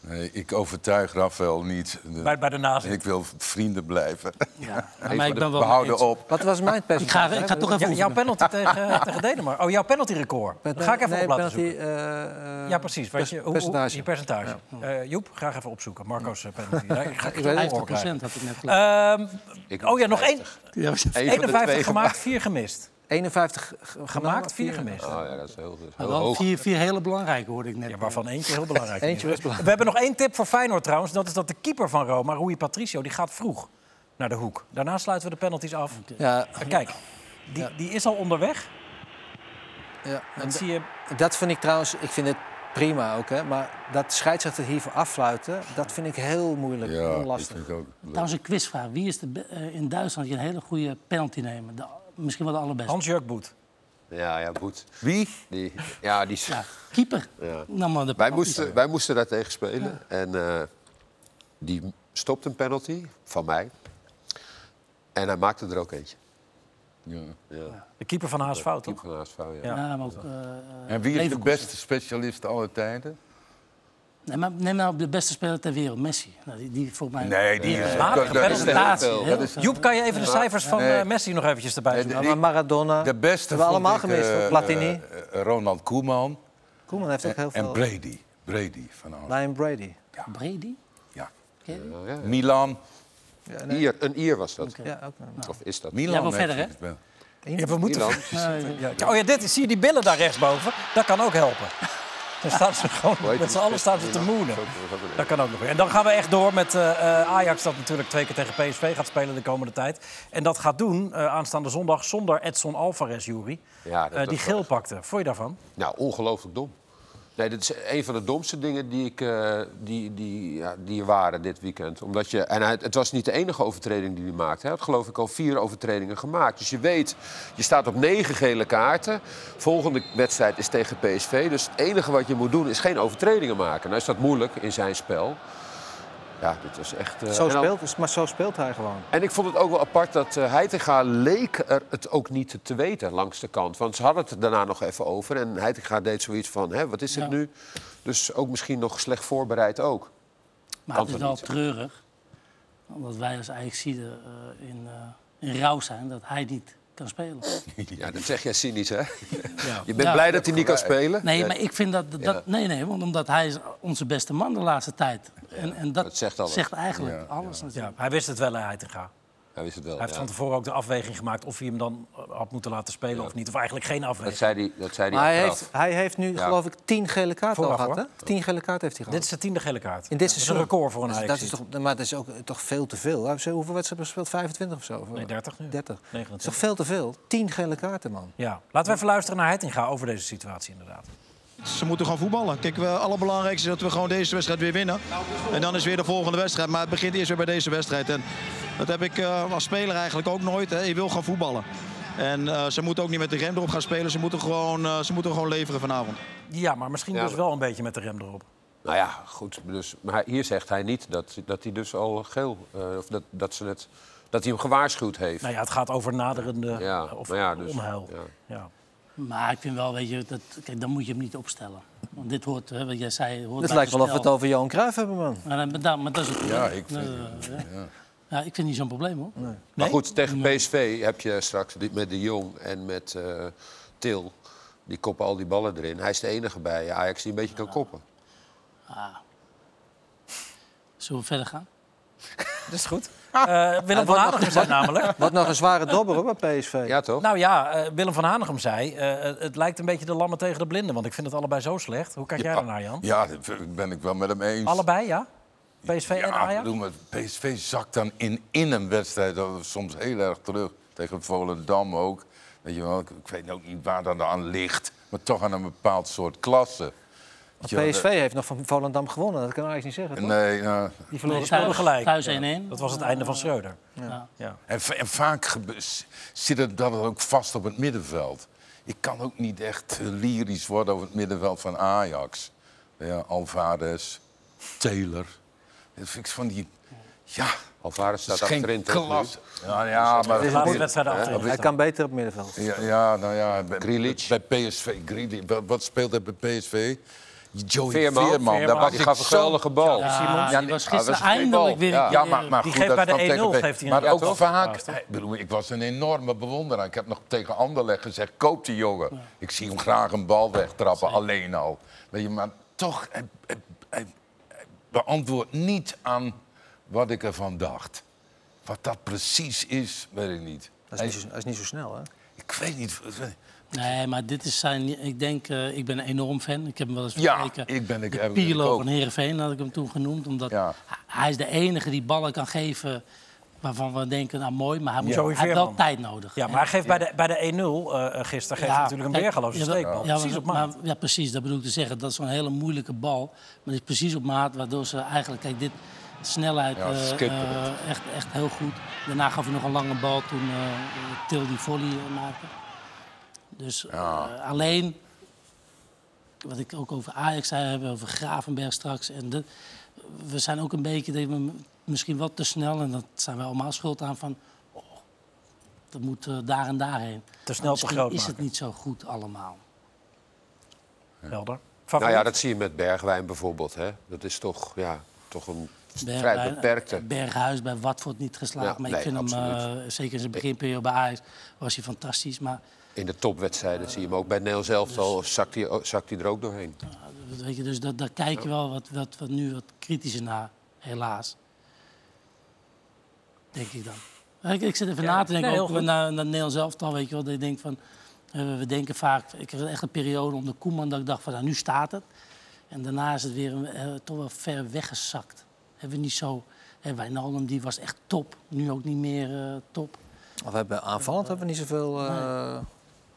Speaker 5: Nee, ik overtuig Rafael niet. De-
Speaker 1: Bij, bij de nazis.
Speaker 5: ik wil vrienden blijven.
Speaker 4: Ja.
Speaker 2: van
Speaker 4: Maar ik
Speaker 2: de-
Speaker 4: ben
Speaker 5: We
Speaker 4: wel
Speaker 5: houden
Speaker 4: eens-
Speaker 5: op.
Speaker 3: Wat was mijn
Speaker 4: Ik
Speaker 3: percentage?
Speaker 4: ga, ik ga toch even
Speaker 1: Ja, jouw
Speaker 4: oefenen.
Speaker 1: penalty tegen, tegen Denemarken. Oh, jouw penalty record. Dat ga ik even
Speaker 3: nee,
Speaker 1: op laten
Speaker 3: penalty,
Speaker 1: zoeken.
Speaker 3: eh, eh,
Speaker 1: Ja, precies. Weet je, hoe- hoe-
Speaker 3: percentage.
Speaker 1: je percentage. Eh, Joep, graag even opzoeken. Marco's eh, penalty. Daar ga ik het
Speaker 4: 50% had ik net gelijk.
Speaker 1: Ehm
Speaker 2: Ik-
Speaker 1: oh ja, nog één.
Speaker 4: Ja, maar-
Speaker 2: Eén van de
Speaker 1: 51
Speaker 2: twee
Speaker 1: gemaakt, 4 gemist.
Speaker 3: 51 g-
Speaker 1: Gemaakt, 4
Speaker 3: genomen, vier-
Speaker 1: gemist.
Speaker 2: Oh ja, dat is heel,
Speaker 4: Maar
Speaker 2: heel
Speaker 4: wel
Speaker 2: hoog.
Speaker 4: vier, vier hele belangrijke hoorde ik net.
Speaker 1: Ja, waarvan eentje heel belangrijk
Speaker 3: Eentje
Speaker 1: is.
Speaker 3: was belangrijk.
Speaker 1: We hebben nog één tip voor Feyenoord trouwens. Dat is dat de keeper van Roma, Rui Patricio, die gaat vroeg naar de hoek. Daarna sluiten we de penalties af.
Speaker 3: Ja,
Speaker 1: En kijk, die, die is al onderweg.
Speaker 3: ja. En
Speaker 1: Dat zie je.
Speaker 3: Dat vind ik trouwens, ik vind het prima ook, hè? maar dat scheidsrechter hiervoor affluiten, dat vind ik heel moeilijk
Speaker 5: Ja,
Speaker 3: en
Speaker 5: ik
Speaker 3: lastig.
Speaker 5: vind het ook.
Speaker 4: Trouwens, een quizvraag. Wie is de be- eh, in Duitsland die een hele goede penalty nemen? De- misschien wel de allerbeste.
Speaker 1: Hans-Jörg Boet.
Speaker 2: Ja, ja, goed.
Speaker 5: Wie?
Speaker 2: Die, ja, die,
Speaker 4: Ja, keeper.
Speaker 2: Ja.
Speaker 4: Nam maar de
Speaker 2: Wij
Speaker 4: penalty.
Speaker 2: moesten, wij moesten daar tegen spelen. En eh, die stopt een penalty van mij. En hij maakte er ook eentje.
Speaker 5: Ja.
Speaker 2: Ja,
Speaker 1: De keeper van Haas Fout,
Speaker 2: keeper
Speaker 1: toch?
Speaker 2: van HSV, ja.
Speaker 1: Ja.
Speaker 4: Ja, maar ook, eh,
Speaker 5: En wie is de
Speaker 4: Leverkusen.
Speaker 5: beste specialist alle tijden?
Speaker 4: Nee, maar neem nou de beste speler ter wereld, Messi. Nou, die, die volgens mij...
Speaker 5: die
Speaker 1: is
Speaker 5: eh,
Speaker 1: later
Speaker 5: dat- dat is
Speaker 1: gepenalty.
Speaker 5: echt-
Speaker 4: Laatste,
Speaker 5: veel.
Speaker 4: heel
Speaker 5: Dat is-
Speaker 4: veel.
Speaker 1: Joep, kan je even de cijfers van
Speaker 5: Nee.
Speaker 1: eh, Messi nog eventjes erbij
Speaker 5: Nee,
Speaker 1: zoeken?
Speaker 3: Ja,
Speaker 5: Ik-
Speaker 3: maar Maradona,
Speaker 5: De beste
Speaker 3: hebben we
Speaker 5: vond
Speaker 3: allemaal
Speaker 5: ik,
Speaker 3: gemist.
Speaker 5: eh,
Speaker 3: hoor. Platini,
Speaker 5: eh, eh, Ronald Koeman
Speaker 3: Koeman heeft ook heel
Speaker 5: en, en
Speaker 3: veel.
Speaker 5: Brady. Brady van Ajax.
Speaker 3: Lion Brady.
Speaker 4: Brady?
Speaker 5: Ja.
Speaker 4: Ken je die?
Speaker 2: Nou, ja, ja.
Speaker 5: Milan.
Speaker 2: Ier, een Ier was dat.
Speaker 4: Oké.
Speaker 3: Ja, ook. nog.
Speaker 2: Of is dat?
Speaker 5: Milan
Speaker 4: Jij wil
Speaker 5: heeft
Speaker 4: verder, hè?
Speaker 5: het wel.
Speaker 1: Ja, we moeten.
Speaker 2: Milan.
Speaker 4: Nee,
Speaker 1: Ja, oh ja, dit, zie je die billen daar rechtsboven? Dat kan ook helpen. Dan staan ze gewoon, met z'n allen staan ze te moenen. Dat kan ook nog weer. En dan gaan we echt door met eh, eh, Ajax, dat natuurlijk twee keer tegen PSV gaat spelen de komende tijd. En dat gaat doen eh, aanstaande zondag zonder Edson Alvarez, Jury.
Speaker 2: Ja, dat-
Speaker 1: Eh, die
Speaker 2: dat-
Speaker 1: geel pakte. Vond je daarvan?
Speaker 2: Nou, ongelooflijk dom. Nee, dat is een van de domste dingen die, ik, eh, die, die, ja, die er waren dit weekend. Omdat je, en hij, het was niet de enige overtreding die hij maakte. Hij had geloof ik al vier overtredingen gemaakt. Dus je weet, je staat op negen gele kaarten. Volgende wedstrijd is tegen PSV. Dus het enige wat je moet doen is geen overtredingen maken. Nou is dat moeilijk in zijn spel. Ja, dit was echt... eh,
Speaker 3: Zo
Speaker 2: en dan-
Speaker 3: speelt, maar zo speelt hij gewoon.
Speaker 2: en ik vond het ook wel apart dat eh Heitinga leek er het ook niet te weten langs de kant. Want ze hadden het er daarna nog even over. En Heitinga deed zoiets van, hè, wat is het nu? Dus ook misschien nog slecht voorbereid ook.
Speaker 4: Maar het is
Speaker 2: Kan toch
Speaker 4: wel
Speaker 2: niet?
Speaker 4: treurig. Omdat wij als Ajaxide eh in, eh, in rouw zijn dat hij niet kan spelen.
Speaker 2: Ja, dat zeg jij cynisch, hè? Je bent
Speaker 4: Ja.
Speaker 2: blij dat hij niet kan spelen?
Speaker 4: Nee, maar ik vind dat... dat Nee, nee, want omdat hij is onze beste man de laatste tijd. En, en dat,
Speaker 2: dat zegt alles.
Speaker 4: eigenlijk alles
Speaker 1: Ja,
Speaker 4: natuurlijk.
Speaker 1: hij wist het wel, hij te gaan.
Speaker 2: Hij wist het wel,
Speaker 1: Hij heeft
Speaker 2: ja.
Speaker 1: van tevoren ook de afweging gemaakt of hij hem dan eh, had moeten laten spelen of niet. Of eigenlijk geen
Speaker 2: Dat
Speaker 1: afweging.
Speaker 2: zei hij, dat zei hij
Speaker 3: Maar hij
Speaker 2: achteraf.
Speaker 3: heeft, hij heeft nu,
Speaker 2: Ja.
Speaker 3: geloof ik, tien gele kaarten al
Speaker 1: Vooraf,
Speaker 3: gehad. Hè? Tien gele kaarten heeft hij gehad.
Speaker 1: Dit is de tiende gele kaart.
Speaker 3: In
Speaker 1: Ja,
Speaker 3: dit
Speaker 1: dat is
Speaker 3: seizoen.
Speaker 1: een record voor een
Speaker 3: Dus
Speaker 1: Ajax.
Speaker 3: dat is toch, Maar dat is ook eh, toch veel te veel. Hij heeft zo- Hoeveel wedstrijden gespeeld? 25 of zo?
Speaker 1: Nee, 30 nu.
Speaker 3: 30. Dat is
Speaker 1: 29.
Speaker 3: toch veel te veel? Tien gele kaarten, man.
Speaker 1: Ja, laten we even luisteren naar Heitinga over deze situatie inderdaad.
Speaker 7: Ze moeten gewoon voetballen. Kijk, we- het allerbelangrijkste is dat we gewoon deze wedstrijd weer winnen. En dan is weer de volgende wedstrijd. Maar het begint eerst weer bij deze wedstrijd. En dat heb ik eh, als speler eigenlijk ook nooit. Hè. Je wil gaan voetballen. En eh, ze moeten ook niet met de rem erop gaan spelen. Ze moeten gewoon, eh, ze moeten gewoon leveren vanavond.
Speaker 1: Ja, maar misschien
Speaker 2: Ja,
Speaker 1: dus
Speaker 2: maar-
Speaker 1: wel een beetje met de rem erop.
Speaker 2: Nou ja, goed. Dus, maar hij- hier zegt hij niet dat, dat hij dus al geel... eh, of dat, dat, ze het, dat hij hem gewaarschuwd heeft.
Speaker 1: Nou ja, het gaat over naderende
Speaker 2: Ja,
Speaker 1: eh, of
Speaker 2: maar ja, dus,
Speaker 1: onheil. Ja.
Speaker 2: ja.
Speaker 4: Maar ik vind wel, weet je, dat, kijk, dan moet je hem niet opstellen. Want dit hoort, hè, wat jij zei, hoort
Speaker 3: Het
Speaker 4: bij
Speaker 3: lijkt wel of we het
Speaker 4: spel.
Speaker 3: over Johan Cruijff hebben, man.
Speaker 4: Maar, dan- maar, dan- maar dat is het probleem.
Speaker 5: Ja, ik vind-
Speaker 4: Eh, ja. Ja, ik vind het niet zo'n probleem, hoor.
Speaker 2: Maar goed, tegen PSV heb je straks die- met de Jong en met eh, Til. Die koppen al die ballen erin. Hij is de enige bij Ajax die een beetje kan koppen.
Speaker 4: Zullen we verder gaan?
Speaker 1: Dat is goed. Eh, Willem van Hanegem zei namelijk...
Speaker 3: Wat nog een zware dobber hoor, bij PSV.
Speaker 2: Ja, toch?
Speaker 1: Nou ja, eh, Willem van Hanegem zei... eh, het lijkt een beetje de lammen tegen de blinden. Want ik vind het allebei zo slecht. Hoe kijk jij daarnaar, Jan?
Speaker 5: Ah, Ja, dat ben ik wel met hem eens.
Speaker 1: Allebei, ja? PSV en
Speaker 5: Ja,
Speaker 1: Ajax?
Speaker 5: bedoel, maar PSV zakt dan in, in een wedstrijd al soms heel erg terug. Tegen Volendam ook. Weet je wel, ik, ik weet ook niet waar dat aan ligt. Maar toch aan een bepaald soort klasse. Weet je wel,
Speaker 3: PSV heeft nog van Volendam gewonnen, dat kan Ajax niet zeggen.
Speaker 5: dat-
Speaker 3: toch?
Speaker 5: Nee, nou,
Speaker 1: Die verloren
Speaker 4: Nee,
Speaker 1: speelden
Speaker 4: thuis-
Speaker 1: gelijk.
Speaker 4: thuis
Speaker 1: Ja.
Speaker 4: 1-1.
Speaker 1: Dat was het einde van Schreuder.
Speaker 4: Ja.
Speaker 1: Ja.
Speaker 5: en, va- en vaak gebe- s- zit het dat ook vast op het middenveld. Ik kan ook niet echt eh, lyrisch worden over het middenveld van Ajax. Ja, Alvarez, Taylor. Dat vind ik van die... Ja,
Speaker 2: Alvarez
Speaker 5: dat
Speaker 2: staat
Speaker 5: is geen
Speaker 2: achterin. toch nu?
Speaker 5: klas. Ja, ja, maar...
Speaker 1: De laatste wedstrijden achterin.
Speaker 3: Hij kan beter op het middenveld.
Speaker 5: Ja, ja nou ja, bij,
Speaker 2: Grealish.
Speaker 5: bij PSV. Grealish. Wat, wat speelt hij bij PSV? Joey
Speaker 2: Veerman,
Speaker 5: Veerman,
Speaker 1: Veerman,
Speaker 5: daar was
Speaker 2: die
Speaker 5: ik
Speaker 2: gaf een
Speaker 5: zo-
Speaker 2: geweldige bal.
Speaker 4: Ja,
Speaker 1: Simons,
Speaker 4: die
Speaker 5: nee,
Speaker 4: was
Speaker 5: ah, dat
Speaker 4: gisteren
Speaker 5: een goede bal.
Speaker 4: eindelijk weer
Speaker 5: Ja,
Speaker 4: een
Speaker 5: ja
Speaker 4: keer,
Speaker 5: maar, maar
Speaker 4: eh,
Speaker 5: goed,
Speaker 1: geeft
Speaker 5: dat
Speaker 1: bij de
Speaker 5: van
Speaker 1: 1-0
Speaker 5: TVV.
Speaker 1: geeft hij een-
Speaker 5: Maar
Speaker 1: ja,
Speaker 5: ook
Speaker 1: toch?
Speaker 5: vaak,
Speaker 1: Ja, toch?
Speaker 5: ik bedoel, ik was een enorme bewonderaar. Ik heb nog tegen Anderlecht gezegd, koop die jongen. Ik zie hem graag een bal wegtrappen, alleen al. Weet je, maar toch, hij, hij- hij- hij beantwoordt niet aan wat ik ervan dacht. Wat dat precies is, weet ik niet.
Speaker 3: Dat is, niet zo, dat is niet zo snel, hè?
Speaker 5: Ik weet niet.
Speaker 4: Nee, maar dit is zijn. Ik denk, eh, ik ben een enorm fan. Ik heb hem wel eens
Speaker 5: Ja,
Speaker 4: vergeleken.
Speaker 5: ik ben- ik-
Speaker 4: de
Speaker 5: heb ik
Speaker 4: Pirlo
Speaker 5: ook.
Speaker 4: van Herenveen had ik hem toen genoemd, omdat
Speaker 5: Ja.
Speaker 4: hij- hij is de enige die ballen kan geven waarvan we denken, nou mooi, maar hij, moet,
Speaker 1: Joey
Speaker 4: hij heeft wel
Speaker 1: Veerman.
Speaker 4: tijd nodig.
Speaker 1: Ja,
Speaker 4: En-
Speaker 1: maar hij geeft bij de, bij de 1-0 eh, eh, gisteren geeft hij natuurlijk een
Speaker 4: kijk,
Speaker 1: weergeloze
Speaker 4: ja, dat-
Speaker 1: steekbal.
Speaker 4: ja,
Speaker 1: Precies
Speaker 4: maar-
Speaker 1: op maat.
Speaker 4: maar- ja, precies. Dat bedoel ik te zeggen. Dat is zo'n hele moeilijke bal. Maar die is precies op maat, waardoor ze eigenlijk... Kijk, dit snelheid
Speaker 5: Ja,
Speaker 4: eh,
Speaker 5: schitterend.
Speaker 4: eh, echt, echt heel goed. Daarna gaf hij nog een lange bal toen eh Til die volley eh, maakte. Dus eh, alleen, wat ik ook over Ajax zei, hebben we over Gravenberg straks. En dat- we zijn ook een beetje dat we misschien wat te snel, en dat zijn we allemaal schuld aan, van oh, dat moet eh, daar en daarheen.
Speaker 1: Te snel, te
Speaker 4: Misschien
Speaker 1: groot
Speaker 4: is het
Speaker 1: maken.
Speaker 4: niet zo goed allemaal.
Speaker 1: Helder.
Speaker 2: Nou ja,
Speaker 1: Favoriet?
Speaker 2: dat zie je met Bergwijn bijvoorbeeld. Hè. Dat is toch, ja, toch een vrij
Speaker 1: eh,
Speaker 4: Berghuis-
Speaker 2: beperkte.
Speaker 4: Berghuis bij Watford niet geslaagd.
Speaker 2: Ja,
Speaker 4: maar ik
Speaker 2: nee,
Speaker 4: vind hem,
Speaker 2: absoluut.
Speaker 4: eh, zeker in zijn beginperiode bij Ajax, was hij fantastisch. Maar
Speaker 2: In de topwedstrijden zie je hem ook. Bij Nederland
Speaker 1: Dus-
Speaker 2: zelf al zakt hij, zakt hij er ook doorheen.
Speaker 4: eh, weet je, dus dat, daar kijk je wel wat, wat, wat nu wat kritischer naar, helaas. Denk ik dan. Maar Ik, ik zit even na te denken,
Speaker 1: nee, heel
Speaker 4: ook
Speaker 1: goed.
Speaker 4: naar, naar Nederland zelf dan, weet je wel. Dat ik denk van, eh, we denken vaak, ik had echt een periode onder Koeman dat ik dacht van, nou, nu staat het. En daarna is het weer een- eh, toch wel ver weggezakt. Hebben we niet zo... Hè, Wijnaldum, die was echt top. Nu ook niet meer eh, top.
Speaker 3: Of we hebben aanvallend hebben we niet zoveel eh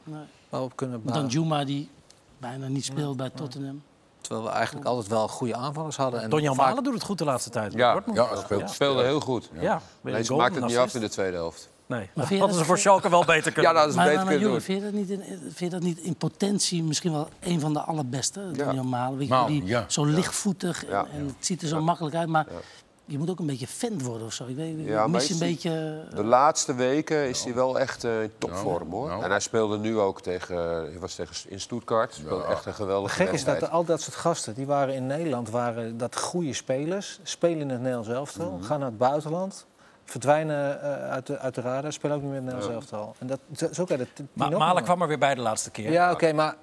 Speaker 4: Nee.
Speaker 3: waarop kunnen
Speaker 4: Maar Dan
Speaker 3: bouwen.
Speaker 4: Juma die bijna niet speelt bij Tottenham.
Speaker 3: Terwijl we eigenlijk altijd wel goede aanvallers hadden. En
Speaker 1: Donjan
Speaker 3: vaak-
Speaker 1: Malen doet het goed de laatste tijd.
Speaker 2: Ja,
Speaker 1: Dortmund.
Speaker 5: Ja, speelt
Speaker 2: Hij Speelde heel goed.
Speaker 1: ja. ja. weer een
Speaker 2: Alleen ze
Speaker 1: goal,
Speaker 2: maakt
Speaker 1: een
Speaker 2: het niet af
Speaker 1: assist.
Speaker 2: in de tweede helft.
Speaker 1: Nee,
Speaker 4: Maar
Speaker 1: dat
Speaker 4: vind je
Speaker 1: hadden
Speaker 4: dat
Speaker 1: ze voor
Speaker 4: zo-
Speaker 1: Schalke wel beter kunnen
Speaker 2: Ja,
Speaker 1: doen.
Speaker 2: dat is
Speaker 4: Maar,
Speaker 2: beter
Speaker 4: maar, maar
Speaker 2: kunnen doen.
Speaker 4: jongen, vind je, dat niet in, eh, vind je dat niet in potentie misschien wel een van de allerbeste? Donjan Malen, weet je,
Speaker 5: Malen,
Speaker 4: die
Speaker 5: ja.
Speaker 4: zo lichtvoetig en,
Speaker 2: Ja.
Speaker 4: en het ziet er zo makkelijk uit. Maar je moet ook een beetje fan worden of zo. Ik weet,
Speaker 2: Ja, maar
Speaker 4: mis
Speaker 2: is
Speaker 4: je een
Speaker 2: die-
Speaker 4: beetje...
Speaker 2: De laatste weken is hij wel echt eh, in topvorm hoor.
Speaker 5: nou.
Speaker 2: En hij speelde nu ook tegen, hij was tegen in Stuttgart. Speelde echt een geweldige
Speaker 3: Gek is dat er
Speaker 2: wedstrijd.
Speaker 3: al dat soort gasten die waren in Nederland, waren dat goede spelers, spelen in het Nederlands elftal, gaan naar het buitenland, verdwijnen eh, uit, de, uit de radar, spelen ook niet meer in het Nederlands elftal. En dat, dat is ook uit het
Speaker 1: Maar Malen kwam er weer bij de laatste keer.
Speaker 3: Ja, oké, maar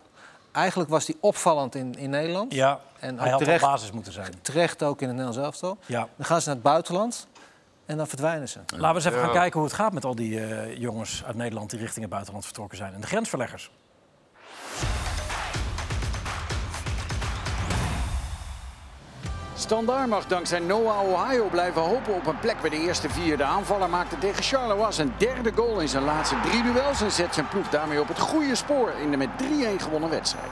Speaker 3: eigenlijk was die opvallend in, in Nederland.
Speaker 1: Ja,
Speaker 3: En
Speaker 1: hij
Speaker 3: ook
Speaker 1: had
Speaker 3: terecht,
Speaker 1: op basis moeten zijn.
Speaker 3: terecht ook in het Nederlands elftal.
Speaker 1: Ja.
Speaker 3: Dan gaan ze naar het buitenland en dan verdwijnen ze.
Speaker 1: Laten we eens even gaan kijken hoe het gaat met al die eh, jongens uit Nederland die richting het buitenland vertrokken zijn. En de grensverleggers.
Speaker 8: Standaard mag dankzij Noah Ohio blijven hopen op een plek bij de eerste vier. De aanvaller maakte tegen Charleroi zijn derde goal in zijn laatste drie duels en zet zijn ploeg daarmee op het goede spoor in de met 3-1 gewonnen wedstrijd.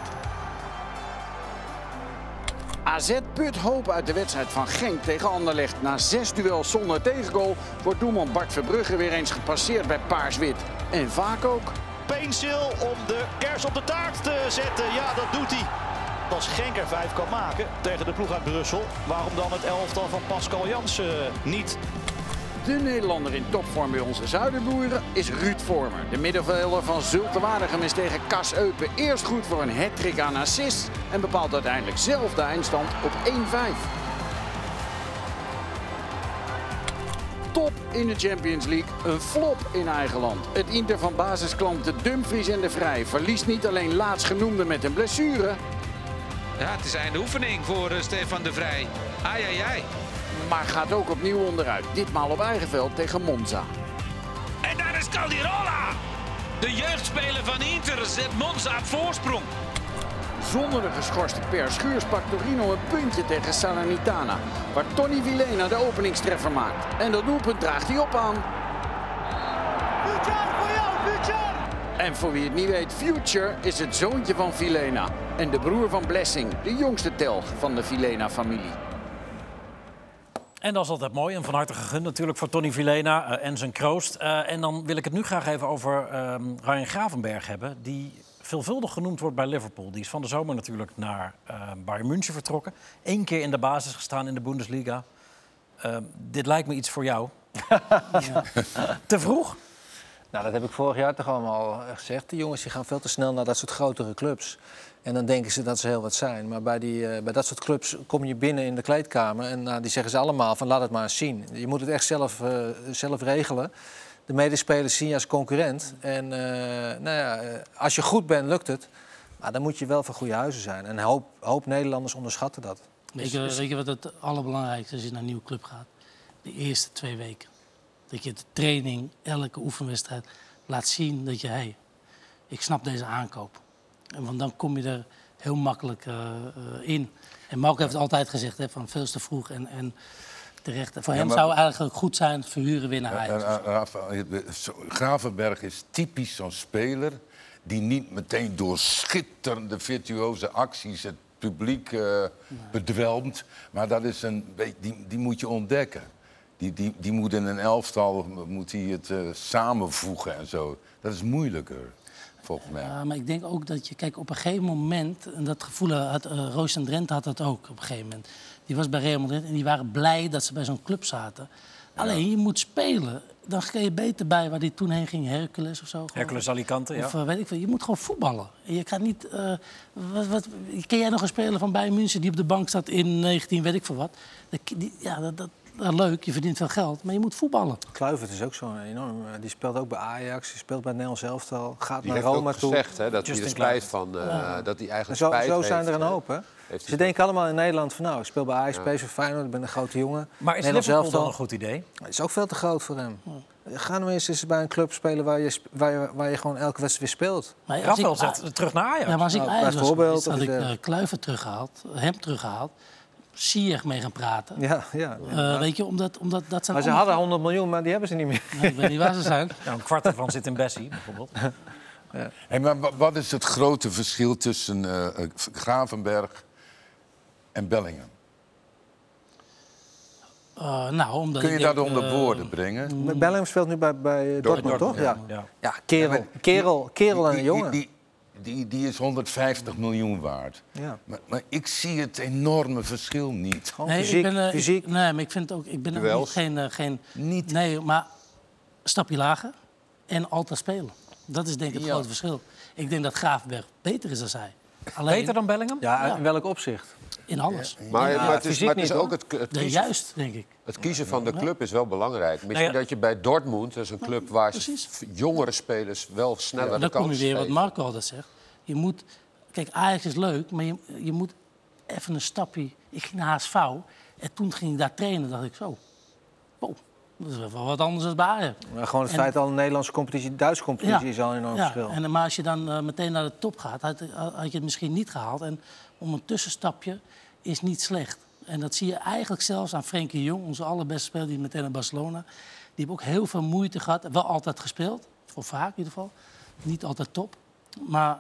Speaker 8: AZ put hoop uit de wedstrijd van Genk tegen Anderlecht. Na zes duels zonder tegengoal wordt doelman Bart Verbrugge weer eens gepasseerd bij Paars-Wit. En vaak ook.
Speaker 9: Peensil om de kers op de taart te zetten. Ja, dat doet hij. Als Genk er vijf kan maken tegen de ploeg uit Brussel, waarom dan het elftal van Pascal Jansen niet?
Speaker 8: De Nederlander in topvorm bij onze zuiderboeren is Ruud Vormer. De middenvelder van Zulte Waregem is tegen Kas Eupen eerst goed voor een hat-trick aan assist... en bepaalt uiteindelijk zelf de eindstand op 1-5. Top in de Champions League, een flop in eigen land. Het Inter van basisklanten Dumfries en de Vrij verliest niet alleen laatstgenoemde met een blessure...
Speaker 10: Ja, het is einde oefening voor eh, Stefan de Vrij. Ai, ai, ai.
Speaker 8: maar gaat ook opnieuw onderuit, ditmaal op eigen veld tegen Monza.
Speaker 10: En daar is Caldirola. De jeugdspeler van Inter zet Monza op voorsprong.
Speaker 8: Zonder de geschorste Per Schuurs pakt Torino een puntje tegen Salernitana. Waar Tony Vilena de openingstreffer maakt. En dat doelpunt draagt hij op aan. En voor wie het niet weet, Future is het zoontje van Vilena. En de broer van Blessing, de jongste telg van de Vilena-familie.
Speaker 1: En dat is altijd mooi en van harte gegund natuurlijk voor Tony Vilena eh, en zijn kroost. Eh, en dan wil ik het nu graag even over ehm Ryan Gravenberg hebben... die veelvuldig genoemd wordt bij Liverpool. Die is van de zomer natuurlijk naar eh, Bayern München vertrokken. Eén keer in de basis gestaan in de Bundesliga. Ehm, dit lijkt me iets voor jou. Te vroeg?
Speaker 3: Nou, dat heb ik vorig jaar toch allemaal eh, gezegd. Die jongens die gaan veel te snel naar dat soort grotere clubs. En dan denken ze dat ze heel wat zijn. Maar bij, die, eh, bij dat soort clubs kom je binnen in de kleedkamer... en nou, die zeggen ze allemaal van laat het maar eens zien. Je moet het echt zelf, eh, zelf regelen. De medespelers zien je als concurrent. En eh, nou ja, eh, als je goed bent, lukt het. Maar dan moet je wel van goede huizen zijn. En een hoop, hoop Nederlanders onderschatten dat.
Speaker 4: Weet je, eh, weet je wat het allerbelangrijkste is als je naar een nieuwe club gaat? De eerste twee weken. Dat je de training, elke oefenwedstrijd laat zien dat je, hé, hey, ik snap deze aankoop. En want dan kom je er heel makkelijk eh, eh, in. En Marco heeft altijd gezegd, hè, van veel is te vroeg en, en terecht. Voor hem
Speaker 5: maar-
Speaker 4: zou eigenlijk goed zijn verhuren weer naar Ajax.
Speaker 5: Ra- Ra- Rafael, je- eh, zo- Gravenberg is typisch zo'n speler die niet meteen door schitterende virtuoze acties het publiek eh, bedwelmt. Maar dat is een, weet- die, die moet je ontdekken. Die, die, die moet in een elftal moet hij het eh, samenvoegen en zo. Dat is moeilijker, volgens mij.
Speaker 4: Ja, Eh, maar ik denk ook dat je, kijk, op een gegeven moment, en dat gevoel had eh Roos en Drenthe had dat ook op een gegeven moment. Die was bij Real Madrid en die waren blij dat ze bij zo'n club zaten. Alleen je moet spelen. Dan kun je beter bij waar die toen heen ging, Hercules of zo. gewoon.
Speaker 1: Hercules Alicante, ja.
Speaker 4: Of eh, weet ik veel. Je moet gewoon voetballen. En Je gaat niet. eh, wat, wat, ken jij nog een speler van Bayern München die op de bank zat in 19, weet ik veel wat? Dat- die- ja, dat, dat, dat leuk, je verdient veel geld, maar je moet voetballen.
Speaker 3: Kluivert is ook zo'n enorm... eh, Die speelt ook bij Ajax, die speelt bij het Nederlands elftal. Gaat
Speaker 2: Die
Speaker 3: naar
Speaker 2: heeft
Speaker 3: Roma
Speaker 2: ook
Speaker 3: toe.
Speaker 2: gezegd hè, dat hij
Speaker 1: Justin
Speaker 2: er spijt van... eh, Dat hij eigenlijk
Speaker 3: Zo,
Speaker 2: spijt
Speaker 3: zo zijn
Speaker 2: heeft,
Speaker 3: er een
Speaker 2: hè.
Speaker 3: hoop, hè?
Speaker 2: hij
Speaker 3: Ze denken allemaal in Nederland van nou, ik speel bij Ajax, PSV, Feyenoord, ik ben een grote jongen.
Speaker 1: Maar is
Speaker 3: Nederlands
Speaker 1: Liverpool dan
Speaker 3: elftal.
Speaker 1: een goed idee?
Speaker 3: Het is ook veel te groot voor hem. Ga nou eens eens bij een club spelen waar je, sp- waar je, waar je gewoon elke wedstrijd weer speelt.
Speaker 4: Maar als
Speaker 1: Rafael
Speaker 4: ik-
Speaker 3: Ah.
Speaker 1: zegt terug naar Ajax.
Speaker 4: Ja, maar als ik
Speaker 3: Nou,
Speaker 4: Ajax was
Speaker 3: bijvoorbeeld,
Speaker 4: geweest, had
Speaker 3: of
Speaker 4: ik
Speaker 3: iets
Speaker 4: eh
Speaker 3: dergelijks.
Speaker 4: Kluivert teruggehaald, hem teruggehaald, Sier mee gaan praten.
Speaker 3: Ja, ja.
Speaker 4: Eh, weet je, omdat, omdat dat zijn
Speaker 3: Maar ze hadden
Speaker 4: allemaal-
Speaker 3: 100 miljoen, maar die hebben ze niet meer.
Speaker 4: Nee, ik weet niet waar ze zijn.
Speaker 1: Nou, een kwart ervan zit in Bessie, bijvoorbeeld.
Speaker 5: Hey, maar wa- wat is het grote verschil tussen eh, eh, Gravenberg en Bellingham?
Speaker 4: Eh, nou, omdat
Speaker 5: Kun je
Speaker 4: ik
Speaker 5: dat
Speaker 4: denk,
Speaker 5: onder
Speaker 4: eh,
Speaker 5: woorden brengen?
Speaker 3: Bellingham speelt nu bij, bij eh, Dortmund, toch? Ja.
Speaker 1: Dortmund,
Speaker 3: Ja.
Speaker 1: ja.
Speaker 3: kerel, kerel, kerel en
Speaker 5: Die-
Speaker 3: een
Speaker 5: die-
Speaker 3: jongen.
Speaker 5: Die, die, die, die is 150 miljoen waard.
Speaker 3: Ja. Oh.
Speaker 5: Maar, maar ik zie het enorme verschil niet.
Speaker 3: Gewoon
Speaker 4: Nee,
Speaker 3: fysiek,
Speaker 4: ik ben, eh, ik-
Speaker 3: fysiek.
Speaker 4: nee, maar ik vind ook, ik ben ook niet,
Speaker 2: Duels.
Speaker 4: geen, eh, geen...
Speaker 5: Niet.
Speaker 4: Nee, maar een stapje lager en altijd spelen. Dat is denk ik het grote verschil. Ik denk dat Graafberg beter is dan zij. Alleen
Speaker 1: Beter dan Bellingham?
Speaker 3: Ja, in welk opzicht?
Speaker 4: in alles.
Speaker 2: Maar, maar het is,
Speaker 3: fysiek
Speaker 2: maar het is
Speaker 3: niet,
Speaker 2: ook
Speaker 3: hoor.
Speaker 2: het, het
Speaker 4: Nee,
Speaker 2: kiezen,
Speaker 4: juist, denk ik.
Speaker 2: het kiezen van de club is wel belangrijk. Misschien
Speaker 1: ja.
Speaker 2: dat je bij Dortmund, dat is een club waar ze
Speaker 4: precies.
Speaker 2: v- jongere spelers wel sneller
Speaker 4: Maar
Speaker 2: de
Speaker 4: dan kom je
Speaker 2: kans
Speaker 4: weer wat
Speaker 2: geven.
Speaker 4: Marco altijd zegt. Je moet, kijk, Ajax is leuk, maar je, je moet even een stapje. Ik ging naar HSV en toen ging ik daar trainen. dacht ik zo, wow, dat is wel wat anders dan bij Ajax.
Speaker 3: Maar gewoon het
Speaker 4: En-
Speaker 3: feit al een Nederlandse competitie, Duitse competitie Dus is al een enorm
Speaker 4: ja,
Speaker 3: verschil.
Speaker 4: En, maar als je dan eh, meteen naar de top gaat, had, had je het misschien niet gehaald. En om een tussenstapje is niet slecht. En dat zie je eigenlijk zelfs aan Frenkie Jong, onze allerbeste speler, die meteen naar Barcelona. Die heeft ook heel veel moeite gehad, wel altijd gespeeld, of vaak in ieder geval. Niet altijd top, maar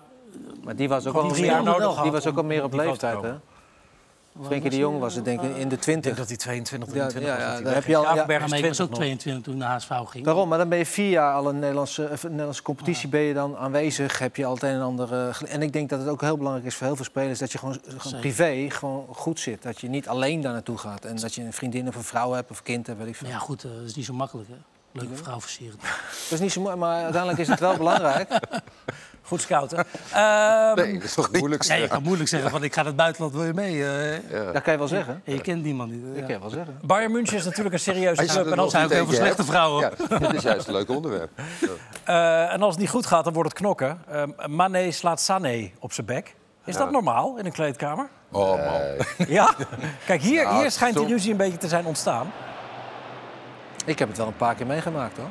Speaker 3: Maar die was ook
Speaker 1: Gewoon
Speaker 3: al
Speaker 1: drie
Speaker 3: meer-
Speaker 1: jaar nodig
Speaker 3: die
Speaker 1: gehad
Speaker 3: was ook al
Speaker 1: om-
Speaker 3: meer
Speaker 1: om
Speaker 3: op
Speaker 1: die kant te
Speaker 3: leeftijd, hè?
Speaker 1: komen.
Speaker 3: Frenkie de Jong was het denk ik in de
Speaker 1: Ik denk
Speaker 3: 20.
Speaker 1: dat hij 22,
Speaker 3: Ja,
Speaker 1: 23
Speaker 3: ja,
Speaker 1: was.
Speaker 3: ja,
Speaker 1: dat
Speaker 3: daar
Speaker 1: hij
Speaker 3: heb je al- ja.
Speaker 1: Graafberg
Speaker 4: Ja,
Speaker 1: is
Speaker 4: maar ik was
Speaker 1: 20
Speaker 4: ook
Speaker 1: nog.
Speaker 4: 22 toen naar HSV ging.
Speaker 3: Daarom, maar dan ben je vier jaar al een Nederlandse, eh, Nederlandse competitie ben je dan aanwezig. Heb je altijd een andere. gele- En ik denk dat het ook heel belangrijk is voor heel veel spelers dat je gewoon, gewoon privé gewoon goed zit. Dat je niet alleen daar naartoe gaat. En dat je een vriendin of een vrouw hebt of een kind hebt, weet ik veel.
Speaker 4: Maar ja, goed, eh, dat is niet zo makkelijk, hè? Leuke vrouw versieren.
Speaker 3: Dat is niet zo mooi, maar uiteindelijk is het wel belangrijk.
Speaker 1: Goed scouten. Ehm,
Speaker 2: Nee, dat is toch het moeilijkste.
Speaker 4: Ja, je kan moeilijk zeggen, want ik ga naar het buitenland, wil je mee? eh?
Speaker 3: Dat kan je wel zeggen.
Speaker 4: je kent die man niet. eh,
Speaker 3: Dat
Speaker 4: ja.
Speaker 3: kan je wel zeggen.
Speaker 1: Bayern München is natuurlijk een serieuze
Speaker 2: Als je
Speaker 1: club.
Speaker 2: er
Speaker 1: En als,
Speaker 2: nog
Speaker 1: het-
Speaker 4: zijn ook heel veel
Speaker 2: eentje
Speaker 4: slechte
Speaker 2: hebt.
Speaker 4: vrouwen.
Speaker 2: Ja, dit is juist een leuk onderwerp.
Speaker 1: eh, en als het niet goed gaat, dan wordt het knokken. Ehm Mané slaat Sané op zijn bek. Is dat normaal in een kleedkamer? Eh,
Speaker 5: Oh man.
Speaker 1: Ja. Kijk, hier,
Speaker 2: Nou,
Speaker 1: hier schijnt die
Speaker 2: soms-
Speaker 1: ruzie een beetje te zijn ontstaan.
Speaker 3: Ik heb het wel een paar keer meegemaakt hoor.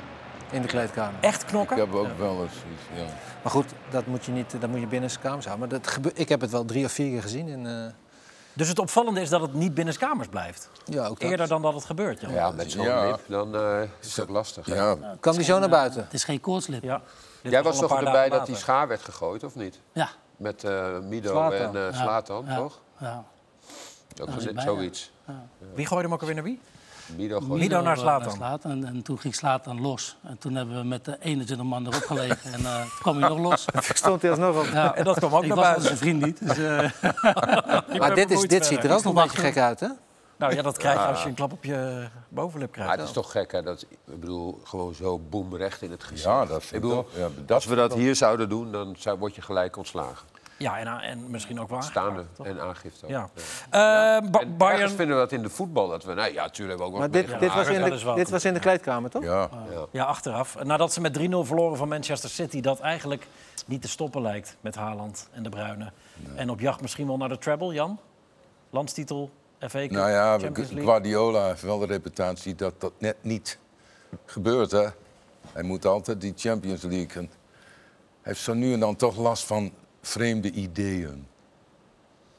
Speaker 3: In de kleedkamer.
Speaker 1: Echt
Speaker 5: Ik
Speaker 2: eh,
Speaker 1: knokken.
Speaker 5: heb ook wel eens iets. Ja.
Speaker 3: Maar goed, dat moet je, niet, eh, dat moet je binnen zijn kamers houden. Maar dat gebe- ik heb het wel drie of vier keer gezien. En, eh,
Speaker 1: Dus het opvallende is dat het niet binnen kamers blijft.
Speaker 3: ja, ook dat.
Speaker 1: Eerder dan dat het gebeurt, Jan.
Speaker 2: Ja, met zo'n
Speaker 5: Ja.
Speaker 2: lip, dan eh, is het ook lastig. hè?
Speaker 5: Ja.
Speaker 3: Kan die zo naar buiten?
Speaker 4: Het is geen koortslip. Ja.
Speaker 1: Ja. Dit
Speaker 2: Jij
Speaker 1: al
Speaker 2: was
Speaker 1: een
Speaker 2: toch
Speaker 1: paar
Speaker 2: erbij
Speaker 1: dagen
Speaker 2: dat die
Speaker 1: later.
Speaker 2: schaar werd gegooid, of niet?
Speaker 4: Ja.
Speaker 2: Met eh, Mido
Speaker 3: Zlatan.
Speaker 2: en eh, Slatan,
Speaker 4: Ja.
Speaker 2: toch? Ook
Speaker 4: was
Speaker 2: zo-
Speaker 4: ik bij,
Speaker 2: zoiets.
Speaker 1: Wie gooide hem ook alweer naar wie?
Speaker 2: Mido gooit.
Speaker 1: Mido naar
Speaker 4: eh,
Speaker 1: Zlatan.
Speaker 4: En, en toen ging Slatan los. En toen hebben we met de 21 man erop gelegen. En eh, kwam hij nog los.
Speaker 3: Stond hij alsnog op.
Speaker 4: Ja.
Speaker 1: En dat kwam ook
Speaker 4: ik
Speaker 1: naar
Speaker 4: was
Speaker 1: buiten.
Speaker 4: onze vriend niet. Dus, eh,
Speaker 3: Maar dit, is, dit ziet er ook nog een beetje gek uit, hè?
Speaker 1: Nou ja, dat krijg je als je een klap op je bovenlip krijgt.
Speaker 2: Maar het is toch gek, hè? Dat, ik bedoel, gewoon zo boemrecht in het gezicht.
Speaker 5: Ja, dat
Speaker 2: ik
Speaker 5: vind ik
Speaker 2: bedoel,
Speaker 5: ook. Ja, dat
Speaker 2: als we dat hier zouden doen, dan zou, word je gelijk ontslagen.
Speaker 1: Ja, en, eh, en misschien ook waar.
Speaker 2: Staande en aangifte. ook.
Speaker 1: Ja. Eh, Ba-
Speaker 2: En ergens
Speaker 1: Bayern.
Speaker 2: vinden we dat in de voetbal. Dat we, nee, ja, natuurlijk hebben we
Speaker 3: Maar
Speaker 2: ook wel
Speaker 3: dit, dit, was in
Speaker 1: dat is
Speaker 3: de,
Speaker 1: wel
Speaker 3: dit
Speaker 1: te-
Speaker 3: was in de kleedkamer, toch?
Speaker 5: Ja.
Speaker 1: Ja, achteraf. Nadat ze met 3-0 verloren van Manchester City, dat eigenlijk niet te stoppen lijkt met Haaland en de Bruyne. En op jacht misschien wel naar de treble, Jan? Landstitel, FA Cup,
Speaker 5: Nou ja,
Speaker 1: Champions League.
Speaker 5: Guardiola heeft wel de reputatie dat dat net niet gebeurt. Hè? Hij moet altijd die Champions League. En hij heeft zo nu en dan toch last van vreemde ideeën.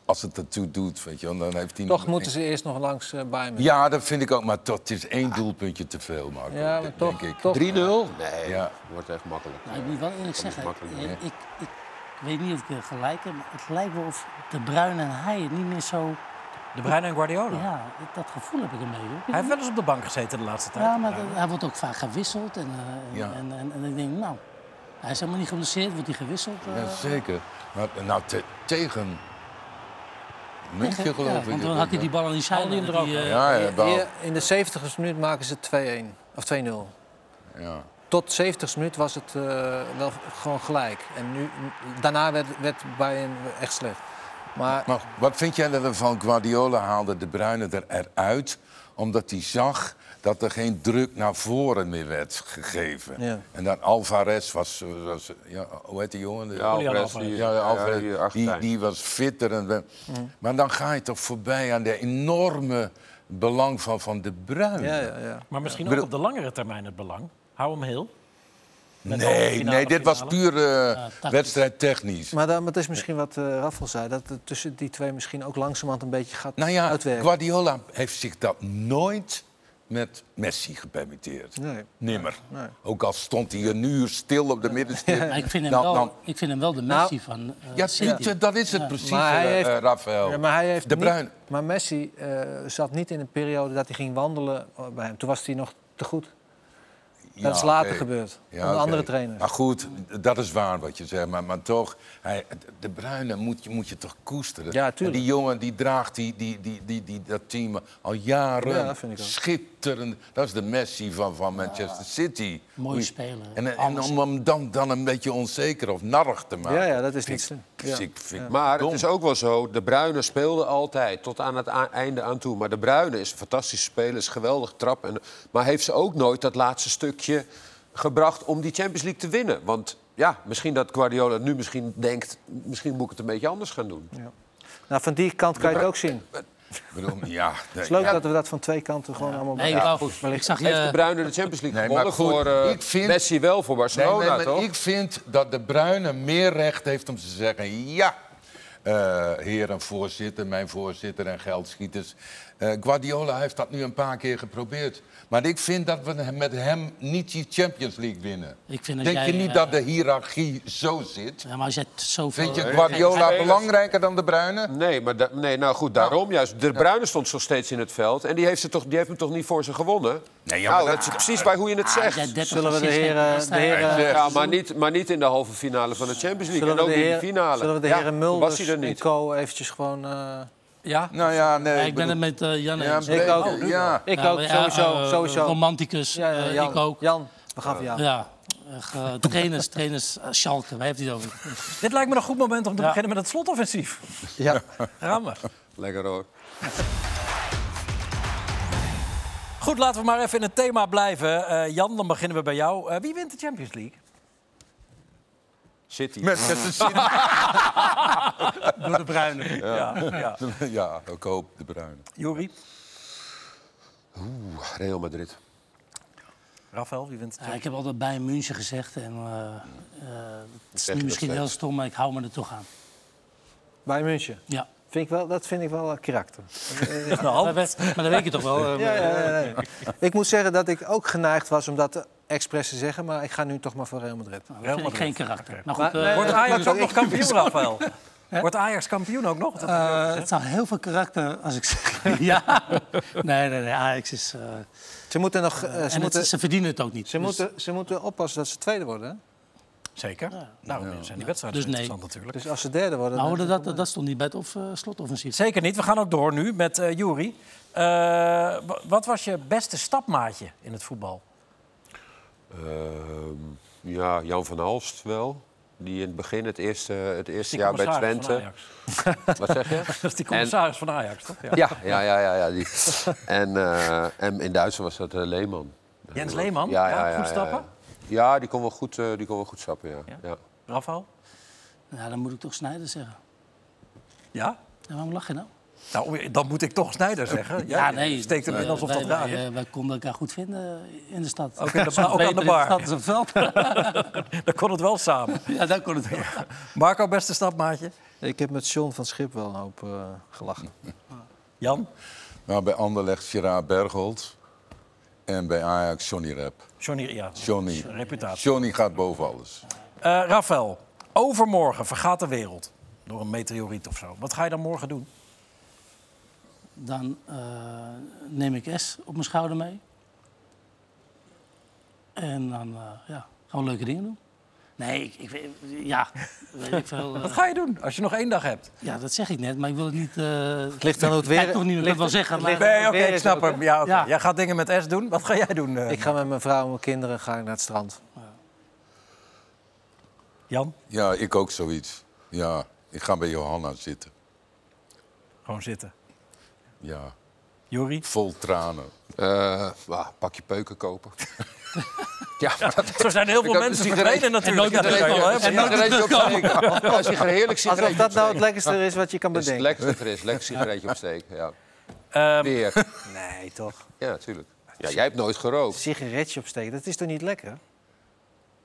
Speaker 5: Als het ertoe doet, weet je wel, dan heeft hij...
Speaker 3: Toch moeten ze eerst nog langs eh, Bayern. München.
Speaker 5: Ja, dat vind ik ook, maar dat is één doelpuntje te veel, Marco,
Speaker 3: Ja, maar
Speaker 5: denk
Speaker 3: toch,
Speaker 5: ik.
Speaker 3: toch
Speaker 2: 3-0? Nee,
Speaker 5: Ja.
Speaker 2: wordt echt makkelijk.
Speaker 4: Nou, ik moet wel eerlijk
Speaker 2: Dat is
Speaker 4: zeggen,
Speaker 2: makkelijk,
Speaker 4: eh, ik, ik, weet niet of ik eh, gelijk heb, maar het lijkt wel of De Bruin en hij het niet meer zo...
Speaker 1: De Bruyne en Guardiola.
Speaker 4: Ja, dat- dat gevoel heb ik ermee. hoor.
Speaker 1: Hij heeft wel eens op de bank gezeten de laatste tijd.
Speaker 4: Ja, maar dat- hij wordt ook vaak gewisseld. En, eh,
Speaker 5: Ja.
Speaker 4: en, en, en ik denk, nou, hij is helemaal niet geblesseerd, wordt hij gewisseld. eh,
Speaker 5: Jazeker. Maar, nou, te- tegen... München,
Speaker 4: ja,
Speaker 5: geloof ik.
Speaker 4: Want dan had hij die bal aan die zijde.
Speaker 1: die hem er ook
Speaker 4: die, eh,
Speaker 5: Ja, ja, wel.
Speaker 3: Hier, in de 70ste minuut maken ze 2-1 of 2-0.
Speaker 5: ja.
Speaker 3: Tot 70 minuut was het eh, wel gewoon gelijk. En nu, daarna werd, werd Bayern echt slecht. Maar
Speaker 5: Maar wat vind jij ervan? Guardiola haalde de Bruyne er eruit omdat hij zag dat er geen druk naar voren meer werd gegeven.
Speaker 3: Ja.
Speaker 5: En dan Alvarez was, was ja, hoe heet die jongen? De-
Speaker 2: Ja, Alvarez, die-
Speaker 5: Ja, Alvarez,
Speaker 2: ja, die
Speaker 5: die,
Speaker 2: achtertuin.
Speaker 5: die was fitter. En, we- Maar dan ga je toch voorbij aan de enorme belang van Van de Bruyne.
Speaker 3: ja, ja, ja.
Speaker 1: Maar misschien ook
Speaker 5: bedoel-
Speaker 1: op de langere termijn het belang. Hou hem heel. Met halve
Speaker 5: Nee,
Speaker 1: finale,
Speaker 5: nee, dit was
Speaker 1: finale.
Speaker 5: puur eh,
Speaker 4: tactisch.
Speaker 5: wedstrijdtechnisch.
Speaker 3: Maar dan, maar dat is misschien wat eh Raffel zei. Dat het tussen die twee misschien ook langzamerhand een beetje gaat
Speaker 5: Nou ja,
Speaker 3: uitwerken.
Speaker 5: Guardiola heeft zich dat nooit met Messi gepermitteerd.
Speaker 3: Nee.
Speaker 5: Nimmer. Ook al stond hij een uur stil op de middenstip.
Speaker 4: maar ik vind, hem
Speaker 5: Dan-
Speaker 4: wel,
Speaker 5: dan-
Speaker 4: ik vind hem wel de
Speaker 3: Nou,
Speaker 4: Messi van eh,
Speaker 5: Nou, ja,
Speaker 4: City.
Speaker 5: dat- dat is het precies,
Speaker 3: Maar hij
Speaker 5: eh,
Speaker 3: heeft-
Speaker 5: eh, Rafael.
Speaker 3: Ja, maar hij heeft
Speaker 5: de
Speaker 3: niet-
Speaker 5: Bruin.
Speaker 3: maar Messi eh, zat niet in een periode dat hij ging wandelen eh, bij hem. Toen was hij nog te goed. dat is later gebeurd. onder andere trainers.
Speaker 5: Maar goed, dat is waar wat je zegt. Maar, maar toch, hij, de Bruine moet je, moet je toch koesteren.
Speaker 3: Ja, tuurlijk.
Speaker 5: En die jongen die draagt die, die, die, die, die, dat team al jaren.
Speaker 3: Ja, dat vind ik ook.
Speaker 5: Schitterend. Dat is de Messi van, van Manchester City.
Speaker 4: Mooi
Speaker 5: Hoe je-
Speaker 4: speler,
Speaker 5: En, en
Speaker 4: alles.
Speaker 5: om hem dan, dan een beetje onzeker of narrig te maken.
Speaker 3: Ja, ja, dat is
Speaker 5: vind
Speaker 3: niet
Speaker 5: ik-
Speaker 3: slim. Ja.
Speaker 5: vind ik- vind ik
Speaker 2: Maar
Speaker 5: dom.
Speaker 2: het is ook wel zo, de Bruyne speelde altijd, tot aan het a- einde aan toe. Maar de Bruyne is een fantastische speler, is een geweldig trap. En, maar heeft ze ook nooit dat laatste stukje gebracht om die Champions League te winnen? Want ja, misschien dat Guardiola nu misschien denkt, misschien moet ik het een beetje anders gaan doen.
Speaker 3: Nou, van die kant kan je het ook zien. Het
Speaker 5: Ik bedoel, ja, nee.
Speaker 3: is leuk dat we dat van twee kanten gewoon allemaal
Speaker 4: Nee,
Speaker 3: bekijken.
Speaker 4: Ralf, ik zag
Speaker 2: Heeft de
Speaker 4: je...
Speaker 2: Bruyne de Champions League
Speaker 5: Nee, maar
Speaker 2: gewonnen
Speaker 5: goed,
Speaker 2: voor eh,
Speaker 5: ik vind-
Speaker 2: Messi wel, voor
Speaker 5: Nee, nee,
Speaker 2: Barcelona,
Speaker 5: maar
Speaker 2: toch?
Speaker 5: ik vind dat de Bruine meer recht heeft om te zeggen: ja, eh heer en voorzitter, mijn voorzitter en geldschieters. Eh, Guardiola heeft dat nu een paar keer geprobeerd. Maar ik vind dat we hem- met hem niet die Champions League winnen.
Speaker 4: Ik vind dat
Speaker 5: Denk
Speaker 4: jij,
Speaker 5: je niet
Speaker 4: eh,
Speaker 5: dat de hiërarchie zo zit?
Speaker 4: Ja, maar als jij het zoveel...
Speaker 5: Vind je Guardiola belangrijker dan de Bruine?
Speaker 2: Nee, maar da- nee, nou goed, daarom juist. De Bruyne stond zo steeds in het veld. En die heeft, ze toch, die heeft hem toch niet voor ze gewonnen?
Speaker 5: Nee, ja,
Speaker 2: nou,
Speaker 5: maar Ah,
Speaker 2: dat is precies bij hoe je het zegt.
Speaker 3: Zullen we de heren, de heren,
Speaker 2: Ja, maar niet, maar niet in de halve finale van de Champions League.
Speaker 3: zullen
Speaker 2: en ook
Speaker 3: we de
Speaker 2: niet in
Speaker 3: heren,
Speaker 2: de finale.
Speaker 3: zullen we de
Speaker 2: Ja,
Speaker 3: heren
Speaker 2: toen
Speaker 3: Mulders
Speaker 2: was hij er
Speaker 3: en
Speaker 2: niet.
Speaker 3: Co eventjes gewoon... eh,
Speaker 1: Ja?
Speaker 5: Nou ja, nee.
Speaker 4: ik ben het met eh, Jan
Speaker 5: ja,
Speaker 4: eens.
Speaker 5: een
Speaker 3: Ik ook.
Speaker 2: Oh,
Speaker 5: beetje, ja.
Speaker 3: ik
Speaker 4: Ja,
Speaker 3: ook,
Speaker 4: ja,
Speaker 3: sowieso.
Speaker 4: eh,
Speaker 3: sowieso.
Speaker 4: Romanticus,
Speaker 3: Ja, ja,
Speaker 4: eh,
Speaker 3: Jan,
Speaker 4: ik ook.
Speaker 3: Jan, we gaan voor jou.
Speaker 4: Ja, echt, eh, trainers, trainers, eh, Schalke, waar heeft hij het over?
Speaker 1: Dit lijkt me een goed moment om te
Speaker 4: Ja.
Speaker 1: beginnen met het slotoffensief.
Speaker 3: Ja.
Speaker 1: Gaan we.
Speaker 2: Lekker hoor.
Speaker 1: Goed, laten we maar even in het thema blijven. Eh, Jan, dan beginnen we bij jou. Eh, wie wint de Champions League?
Speaker 2: City.
Speaker 5: Manchester City.
Speaker 1: Door de Bruine. Ja. Ja.
Speaker 5: Ja, ik hoop de Bruine.
Speaker 1: Joeri,
Speaker 2: Oeh, Real Madrid.
Speaker 1: Rafael, wie wint de
Speaker 4: Ja,
Speaker 1: Champions
Speaker 4: ik heb altijd bij München gezegd en eh, eh, het is
Speaker 2: Zeg je dat
Speaker 4: nu misschien
Speaker 2: steeds?
Speaker 4: heel stom, maar ik hou me er toch aan.
Speaker 3: Bij München.
Speaker 4: Ja.
Speaker 3: Vind ik wel, dat vind ik wel eh, karakter.
Speaker 1: League? Nou,
Speaker 4: Maar dat weet je toch wel. eh,
Speaker 3: Ja, ja, ja, ja. ik moet zeggen dat ik ook geneigd was om dat expres te zeggen, maar ik ga nu toch maar voor Real Madrid.
Speaker 4: Dat vind ik geen karakter. Maar goed,
Speaker 3: Maar,
Speaker 4: eh,
Speaker 3: nee,
Speaker 1: Wordt
Speaker 3: dat
Speaker 1: Ajax
Speaker 3: maakt
Speaker 1: ook
Speaker 3: ook
Speaker 1: nog kampioen, Rafael? Wordt Ajax kampioen ook nog? Dat-
Speaker 4: eh, het zou heel veel karakter als ik zeg ja. Nee, nee, nee, Ajax is... eh,
Speaker 3: Ze moeten nog. eh, ze,
Speaker 4: en het-
Speaker 3: moeten,
Speaker 4: ze verdienen het ook niet.
Speaker 3: ze,
Speaker 4: Dus
Speaker 3: moeten, ze moeten oppassen dat ze tweede worden. Hè?
Speaker 1: Zeker. Daarom zijn die wedstrijden
Speaker 4: Dus
Speaker 1: zo
Speaker 4: nee.
Speaker 1: interessant natuurlijk. Dus
Speaker 3: Dus als ze derde worden...
Speaker 4: Nou,
Speaker 3: dan-
Speaker 4: dat, dat, dat stond niet bij het of, eh, slotoffensief.
Speaker 1: Zeker niet. We gaan ook door nu met eh Juri. Eh, wa- wat was je beste stapmaatje in het voetbal?
Speaker 2: Ehm, ja, Jan van Halst wel. Die in het begin, het eerste, het eerste
Speaker 1: Die
Speaker 2: jaar bij
Speaker 1: commissaris van
Speaker 2: Twente.
Speaker 1: Ajax.
Speaker 2: Wat zeg je?
Speaker 1: Dat is die commissaris van Ajax, toch? Ja.
Speaker 2: Ja, ja, ja, ja. ja die. en, eh, en in Duitsland was dat eh, Leeman.
Speaker 1: Jens Leeman? Ja, goed stappen?
Speaker 2: Ja, die kon wel goed, eh, die kon wel goed stappen, ja.
Speaker 1: Ja?
Speaker 2: ja?
Speaker 1: Rafael?
Speaker 4: Ja, dan moet ik toch Snijder zeggen.
Speaker 1: Ja?
Speaker 4: Ja, waarom lach je nou?
Speaker 1: Nou, dan moet ik toch Snijder zeggen. Ja, je steekt hem
Speaker 4: dat,
Speaker 1: in
Speaker 4: eh,
Speaker 1: alsof
Speaker 4: wij,
Speaker 1: dat raar
Speaker 4: wij,
Speaker 1: is.
Speaker 4: eh, wij konden elkaar goed vinden in de stad.
Speaker 1: Ook in de
Speaker 4: Soms
Speaker 1: bar, ook aan
Speaker 4: beter
Speaker 1: de
Speaker 4: in
Speaker 1: bar.
Speaker 4: stad als op het veld. eh,
Speaker 1: Dan kon het wel samen.
Speaker 4: ja, daar kon het wel.
Speaker 1: Marco, beste stapmaatje.
Speaker 3: Ik heb met John van Schip wel een hoop eh, gelachen.
Speaker 1: Jan?
Speaker 5: Nou, bij Anderlecht Gerard Bergholt. En bij Ajax Johnny Rep.
Speaker 1: Johnny, ja.
Speaker 5: Johnny.
Speaker 1: Reputatie.
Speaker 5: Johnny gaat boven alles.
Speaker 1: Eh Rafael, overmorgen vergaat de wereld. Door een meteoriet of zo. Wat ga je dan morgen doen?
Speaker 4: Dan eh, neem ik S op mijn schouder mee. En dan eh, ja, gaan we leuke dingen doen. Nee, ik, ik weet, ja, weet ik veel. eh,
Speaker 1: Wat ga je doen als je nog één dag hebt?
Speaker 4: ja, dat zeg ik net, maar ik wil het niet... eh het
Speaker 3: ligt aan hoe het
Speaker 4: ik kijk
Speaker 3: weer-
Speaker 4: toch niet, ik kan het wel zeggen, maar...
Speaker 1: Nee, oké,
Speaker 3: weer
Speaker 1: ik
Speaker 3: is
Speaker 1: snap
Speaker 3: ook, hè?
Speaker 1: hem. Ja, oké.
Speaker 4: Ja.
Speaker 1: Jij gaat dingen met S doen. Wat ga jij doen, eh,
Speaker 3: Ik ga met mijn vrouw en mijn kinderen ga ik naar het strand.
Speaker 1: Jan?
Speaker 5: Ja, ik ook zoiets. Ja, ik ga bij Johanna zitten.
Speaker 1: Gewoon zitten.
Speaker 5: Ja,
Speaker 1: Jori?
Speaker 5: vol tranen.
Speaker 2: Eh, nou, pak je peuken kopen. ja, maar dat
Speaker 1: Zo zijn heel veel
Speaker 2: heb een
Speaker 1: mensen
Speaker 2: sigaret.
Speaker 1: verdwenen natuurlijk.
Speaker 4: En nooit
Speaker 1: Dat weet je wel, hè?
Speaker 2: een sigaretje opsteken. Als je heerlijk
Speaker 3: Alsof
Speaker 2: sigaretje
Speaker 3: dat nou het lekkerste is wat je kan
Speaker 2: Dat is het
Speaker 3: bedenken.
Speaker 2: lekkerste er is. Lekker sigaretje opsteken, ja.
Speaker 1: Ehm,
Speaker 2: Weer.
Speaker 3: Nee, toch?
Speaker 2: Ja, natuurlijk. Ja, jij hebt nooit gerookt.
Speaker 3: Sigaretje opsteken, dat is toch niet lekker?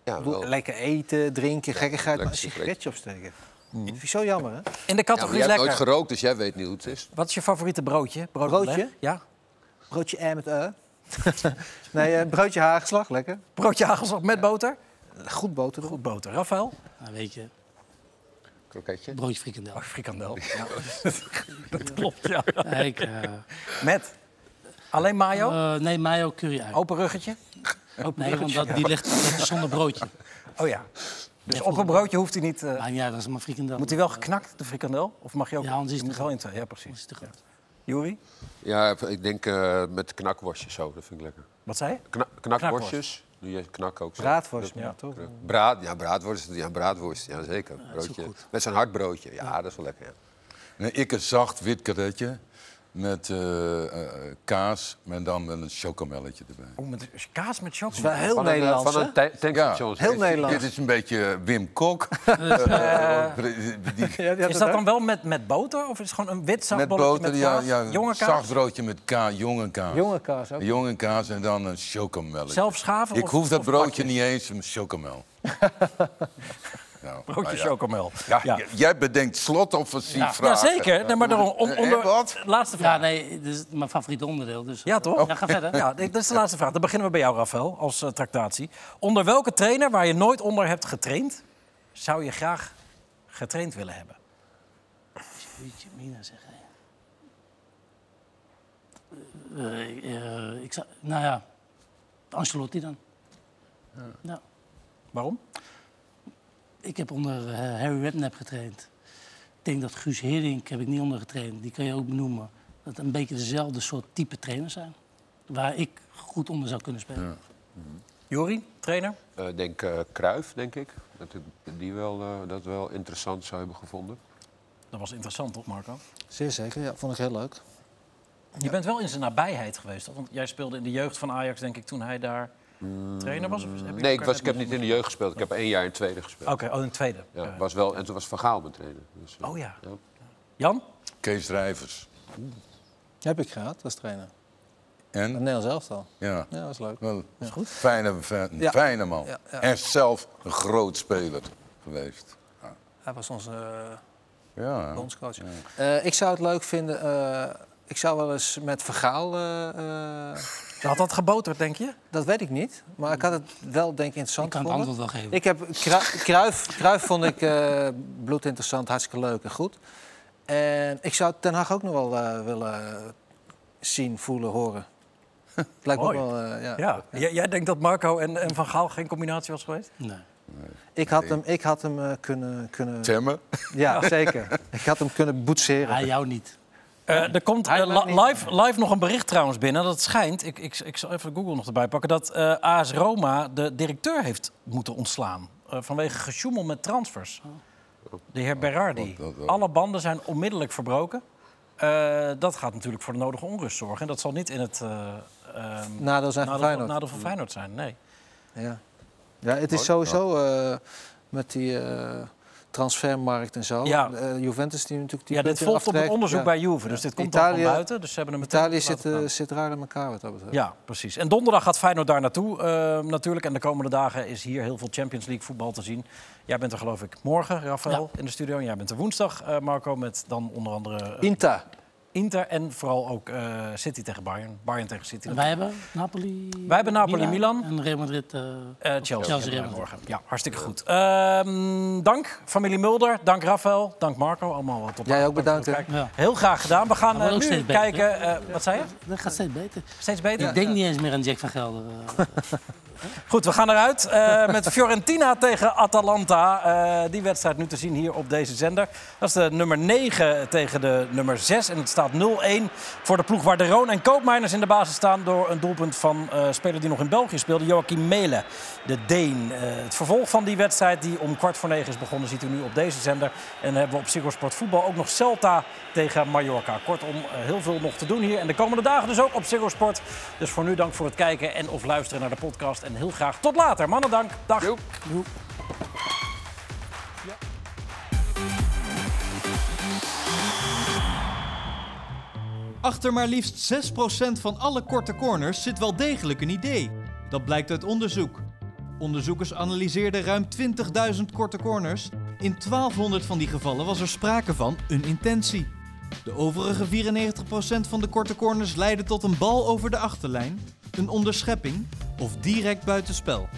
Speaker 2: Ja,
Speaker 3: Ik bedoel,
Speaker 2: wel.
Speaker 3: Lekker eten, drinken, gekkigheid, maar een
Speaker 2: sigaretje.
Speaker 3: sigaretje opsteken.
Speaker 4: Mm.
Speaker 3: Dat vind ik zo jammer, hè?
Speaker 1: in de
Speaker 2: Ja, maar
Speaker 1: categorie
Speaker 2: jij hebt nooit
Speaker 1: lekker.
Speaker 2: gerookt, dus jij weet niet hoe het is.
Speaker 1: Wat is je favoriete broodje? Brood
Speaker 3: Broodje?
Speaker 1: op leg? Ja.
Speaker 3: Broodje ei met eh. nee, eh, broodje haagslag, lekker.
Speaker 1: Broodje hagelslag met boter?
Speaker 3: Goed boter erop.
Speaker 1: Goed boter. Rafael?
Speaker 4: Nou, weet je,
Speaker 2: Kroketje.
Speaker 4: broodje frikandel.
Speaker 1: Oh, frikandel. Ja. dat klopt, ja.
Speaker 4: Nee, ik, eh,
Speaker 1: Met? Alleen mayo?
Speaker 4: eh, nee, mayo curry uit.
Speaker 1: Open ruggetje?
Speaker 4: nee, want dat, die ligt ligt zonder broodje.
Speaker 1: Oh ja. Dus op een broodje hoeft hij niet... eh,
Speaker 4: Maar ja, dat is maar frikandel.
Speaker 1: moet hij wel geknakt, de frikandel? Of mag je ook...
Speaker 4: Ja, anders
Speaker 1: je
Speaker 4: is het
Speaker 1: moet
Speaker 4: te
Speaker 1: wel in twee. Ja,
Speaker 4: Dat
Speaker 1: precies.
Speaker 4: is te groot.
Speaker 1: Juri,
Speaker 2: Ja, ik denk eh, met knakworstjes zo, dat vind ik lekker.
Speaker 1: wat zei je?
Speaker 2: Kna knakworstjes? Doe je knak ook zo?
Speaker 3: Braadworst, maar toch?
Speaker 2: Braad, ja, braadworst. Ja, braadworst. Ja, zeker. Broodje. Met zo'n hard broodje. Ja, dat is wel lekker. Ja.
Speaker 5: Nee, ik een zacht wit karretje met eh, eh, kaas en dan met een chocomelletje erbij.
Speaker 1: Oh, met kaas met
Speaker 3: Dat is wel
Speaker 1: chocolade.
Speaker 3: heel
Speaker 2: Van een, eh,
Speaker 3: Nederlands,
Speaker 2: Van
Speaker 3: hè?
Speaker 2: een ta- tankstation.
Speaker 3: Heel Nederlands.
Speaker 5: Dit is een beetje Wim Kok. Eh, die-
Speaker 3: Ja, die had
Speaker 1: Is
Speaker 3: het
Speaker 1: dat
Speaker 3: ook.
Speaker 1: dan wel met, met boter? Of is het gewoon een wit
Speaker 5: met
Speaker 1: zakbolletje met,
Speaker 5: boter, ja,
Speaker 1: kaas?
Speaker 5: ja,
Speaker 1: Jonge kaas?
Speaker 5: zacht broodje met ka jonge kaas.
Speaker 3: Jonge kaas ook.
Speaker 5: Jonge kaas en dan een chocomel.
Speaker 1: Zelf schaven
Speaker 5: Ik
Speaker 1: of-
Speaker 5: hoef dat
Speaker 1: of
Speaker 5: broodje
Speaker 1: pakjes?
Speaker 5: niet eens, een chocomel. nou,
Speaker 1: Broodje
Speaker 5: maar ja.
Speaker 1: chocomel.
Speaker 5: Ja,
Speaker 1: Ja.
Speaker 5: j- Jij bedenkt slotoffensief
Speaker 1: Ja,
Speaker 5: vragen.
Speaker 1: zeker. Nee, maar daarom, om-
Speaker 5: Eh,
Speaker 1: onder-
Speaker 5: wat?
Speaker 1: Laatste
Speaker 4: Ja,
Speaker 1: vraag.
Speaker 4: nee, dit is mijn favoriete onderdeel. Dus,
Speaker 1: Ja, toch?
Speaker 4: Ja, ga verder.
Speaker 1: Ja, dit dit is de laatste vraag. Dan beginnen we bij jou, Rafael, als eh, tractatie. Onder welke trainer waar je nooit onder hebt getraind... zou je graag getraind willen hebben?
Speaker 4: Jeetje, Mina zeg hè. Eh, ik, eh, ik zou, nou ja, Ancelotti dan. Nou. Ja.
Speaker 1: Waarom?
Speaker 4: Ik heb onder eh, Harry Redknapp getraind. Ik denk dat Guus Hiddink heb ik niet onder getraind. Die kan je ook benoemen. Dat een beetje dezelfde soort type trainers zijn. Waar ik goed onder zou kunnen spelen.
Speaker 1: Jori, trainer?
Speaker 2: Ik denk eh Kruif, denk ik. Dat ik die wel, eh, dat wel interessant zou hebben gevonden.
Speaker 1: Dat was interessant, toch, Marco?
Speaker 3: Zeer zeker, ja, vond ik heel leuk.
Speaker 1: Je bent wel in zijn nabijheid geweest, toch? Want jij speelde in de jeugd van Ajax, denk ik, toen hij daar
Speaker 3: Mm.
Speaker 1: trainer was? Of heb je
Speaker 2: Nee, ik,
Speaker 1: elkaar
Speaker 2: was, ik
Speaker 1: net
Speaker 2: heb niet in de jeugd gespeeld. Ik heb één jaar in tweede gespeeld.
Speaker 1: Oké, oh, een tweede.
Speaker 2: Ja, was wel, en toen was Van Gaal mijn trainer. Dus, eh,
Speaker 1: Oh ja.
Speaker 2: ja.
Speaker 1: Jan?
Speaker 5: Kees Drijvers.
Speaker 3: Heb ik gehad als trainer. Het
Speaker 5: En?
Speaker 3: Nederlands elftal.
Speaker 5: Ja.
Speaker 3: Ja, dat is leuk.
Speaker 5: Wel, Fijne, fijne,
Speaker 3: Ja.
Speaker 5: fijne man.
Speaker 3: Ja, ja.
Speaker 5: En zelf een groot speler geweest.
Speaker 3: Hij was onze eh,
Speaker 5: Ja.
Speaker 3: bondscoach. Eh, ik zou het leuk vinden... eh, ik zou wel eens met Vergaal... eh, eh,
Speaker 1: Je had dat geboterd, denk je?
Speaker 3: dat weet ik niet. Maar ik had het wel, denk ik, interessant
Speaker 4: Ik kan het
Speaker 3: gevonden.
Speaker 4: antwoord wel geven.
Speaker 3: Ik heb Kru- Kruif, Kruif vond ik eh bloedinteressant, hartstikke leuk en goed. En ik zou Ten Hag ook nog wel eh, willen zien, voelen, horen. Het lijkt me ook
Speaker 1: Mooi.
Speaker 3: wel, eh, ja.
Speaker 1: Ja. Jij- Jij denkt dat Marco en, en Van Gaal geen combinatie was geweest?
Speaker 4: Nee.
Speaker 3: Ik had hem, ik had hem eh, kunnen, kunnen...
Speaker 5: Temmen.
Speaker 3: Ja, zeker. Ik had hem kunnen boetseren.
Speaker 4: Hij jou niet.
Speaker 1: Eh, er komt eh,
Speaker 3: Hij maakt
Speaker 1: li-
Speaker 3: niet-
Speaker 1: live, live nog een bericht trouwens binnen. Dat schijnt, ik, ik, ik zal even Google nog erbij pakken... dat eh AS Roma de directeur heeft moeten ontslaan... eh, vanwege gesjoemel met transfers. De heer Berardi.
Speaker 5: dat wel.
Speaker 1: Alle banden zijn onmiddellijk verbroken. Eh, dat gaat natuurlijk voor de nodige onrust zorgen. En dat zal niet in het eh, ehm,
Speaker 3: Nadeel zijn
Speaker 1: nadeel
Speaker 3: van
Speaker 1: van-
Speaker 3: Feyenoord.
Speaker 1: nadeel van Feyenoord zijn. Nee.
Speaker 3: Ja. ja, het is sowieso eh, met die eh, transfermarkt en zo.
Speaker 1: Ja.
Speaker 3: Eh, Juventus die natuurlijk... Die
Speaker 1: Ja, dit
Speaker 3: punten
Speaker 1: volgt op het
Speaker 3: aftrekt.
Speaker 1: onderzoek
Speaker 3: Ja.
Speaker 1: bij Juve. Dus dit komt dan
Speaker 3: Italië-
Speaker 1: van buiten. Dus ze hebben hem meteen
Speaker 3: Italië
Speaker 1: laten
Speaker 3: zit, eh,
Speaker 1: gaan.
Speaker 3: zit raar in elkaar wat dat betreft.
Speaker 1: Ja, precies. En donderdag gaat Feyenoord daar naartoe eh, natuurlijk. En de komende dagen is hier heel veel Champions League voetbal te zien. Jij bent er geloof ik morgen, Rafael, in de studio. En jij bent er woensdag, eh, Marco, met dan onder andere eh,
Speaker 3: Inta.
Speaker 1: Inter en vooral ook eh, City tegen Bayern. Bayern tegen City.
Speaker 4: En wij hebben Napoli.
Speaker 1: Wij hebben Napoli, Milan.
Speaker 4: En Real Madrid. eh,
Speaker 1: Eh, Chelsea,
Speaker 4: Chelsea
Speaker 1: hebben wij
Speaker 4: Real.
Speaker 1: morgen. Ja, hartstikke goed. Ehm, dank, familie Mulder. Dank, Rafael. Dank, Marco. Allemaal wat op.
Speaker 3: Jij ook bedankt. hè.
Speaker 4: ja.
Speaker 1: Heel graag gedaan. We gaan
Speaker 4: Dat wordt
Speaker 1: eh,
Speaker 4: ook
Speaker 1: nu
Speaker 4: steeds beter,
Speaker 1: kijken. eh, wat zei je?
Speaker 4: Dat gaat steeds beter.
Speaker 1: Steeds beter?
Speaker 4: Ik denk niet eens meer aan Jack van Gelder. eh.
Speaker 1: Goed, we gaan eruit eh, met Fiorentina tegen Atalanta. Eh, die wedstrijd nu te zien hier op deze zender. Dat is de nummer 9 tegen de nummer 6. En het staat 0-1 voor de ploeg waar de Roon en Koopmeiners in de basis staan... door een doelpunt van eh speler die nog in België speelde, Joachim Mele, de Deen. Eh, het vervolg van die wedstrijd die om kwart voor negen is begonnen... ziet u nu op deze zender. En dan hebben we op Ziggo Sport Voetbal ook nog Celta tegen Mallorca. Kortom, eh, heel veel nog te doen hier. En de komende dagen dus ook op Ziggo Sport. Dus voor nu dank voor het kijken en of luisteren naar de podcast. En heel graag tot later. Mannen, dank. Dag.
Speaker 11: Achter maar liefst 6% van alle korte corners zit wel degelijk een idee. Dat blijkt uit onderzoek. Onderzoekers analyseerden ruim 20.000 korte corners. In 1200 van die gevallen was er sprake van een intentie. De overige 94% van de korte corners leidde tot een bal over de achterlijn, een onderschepping of direct buitenspel.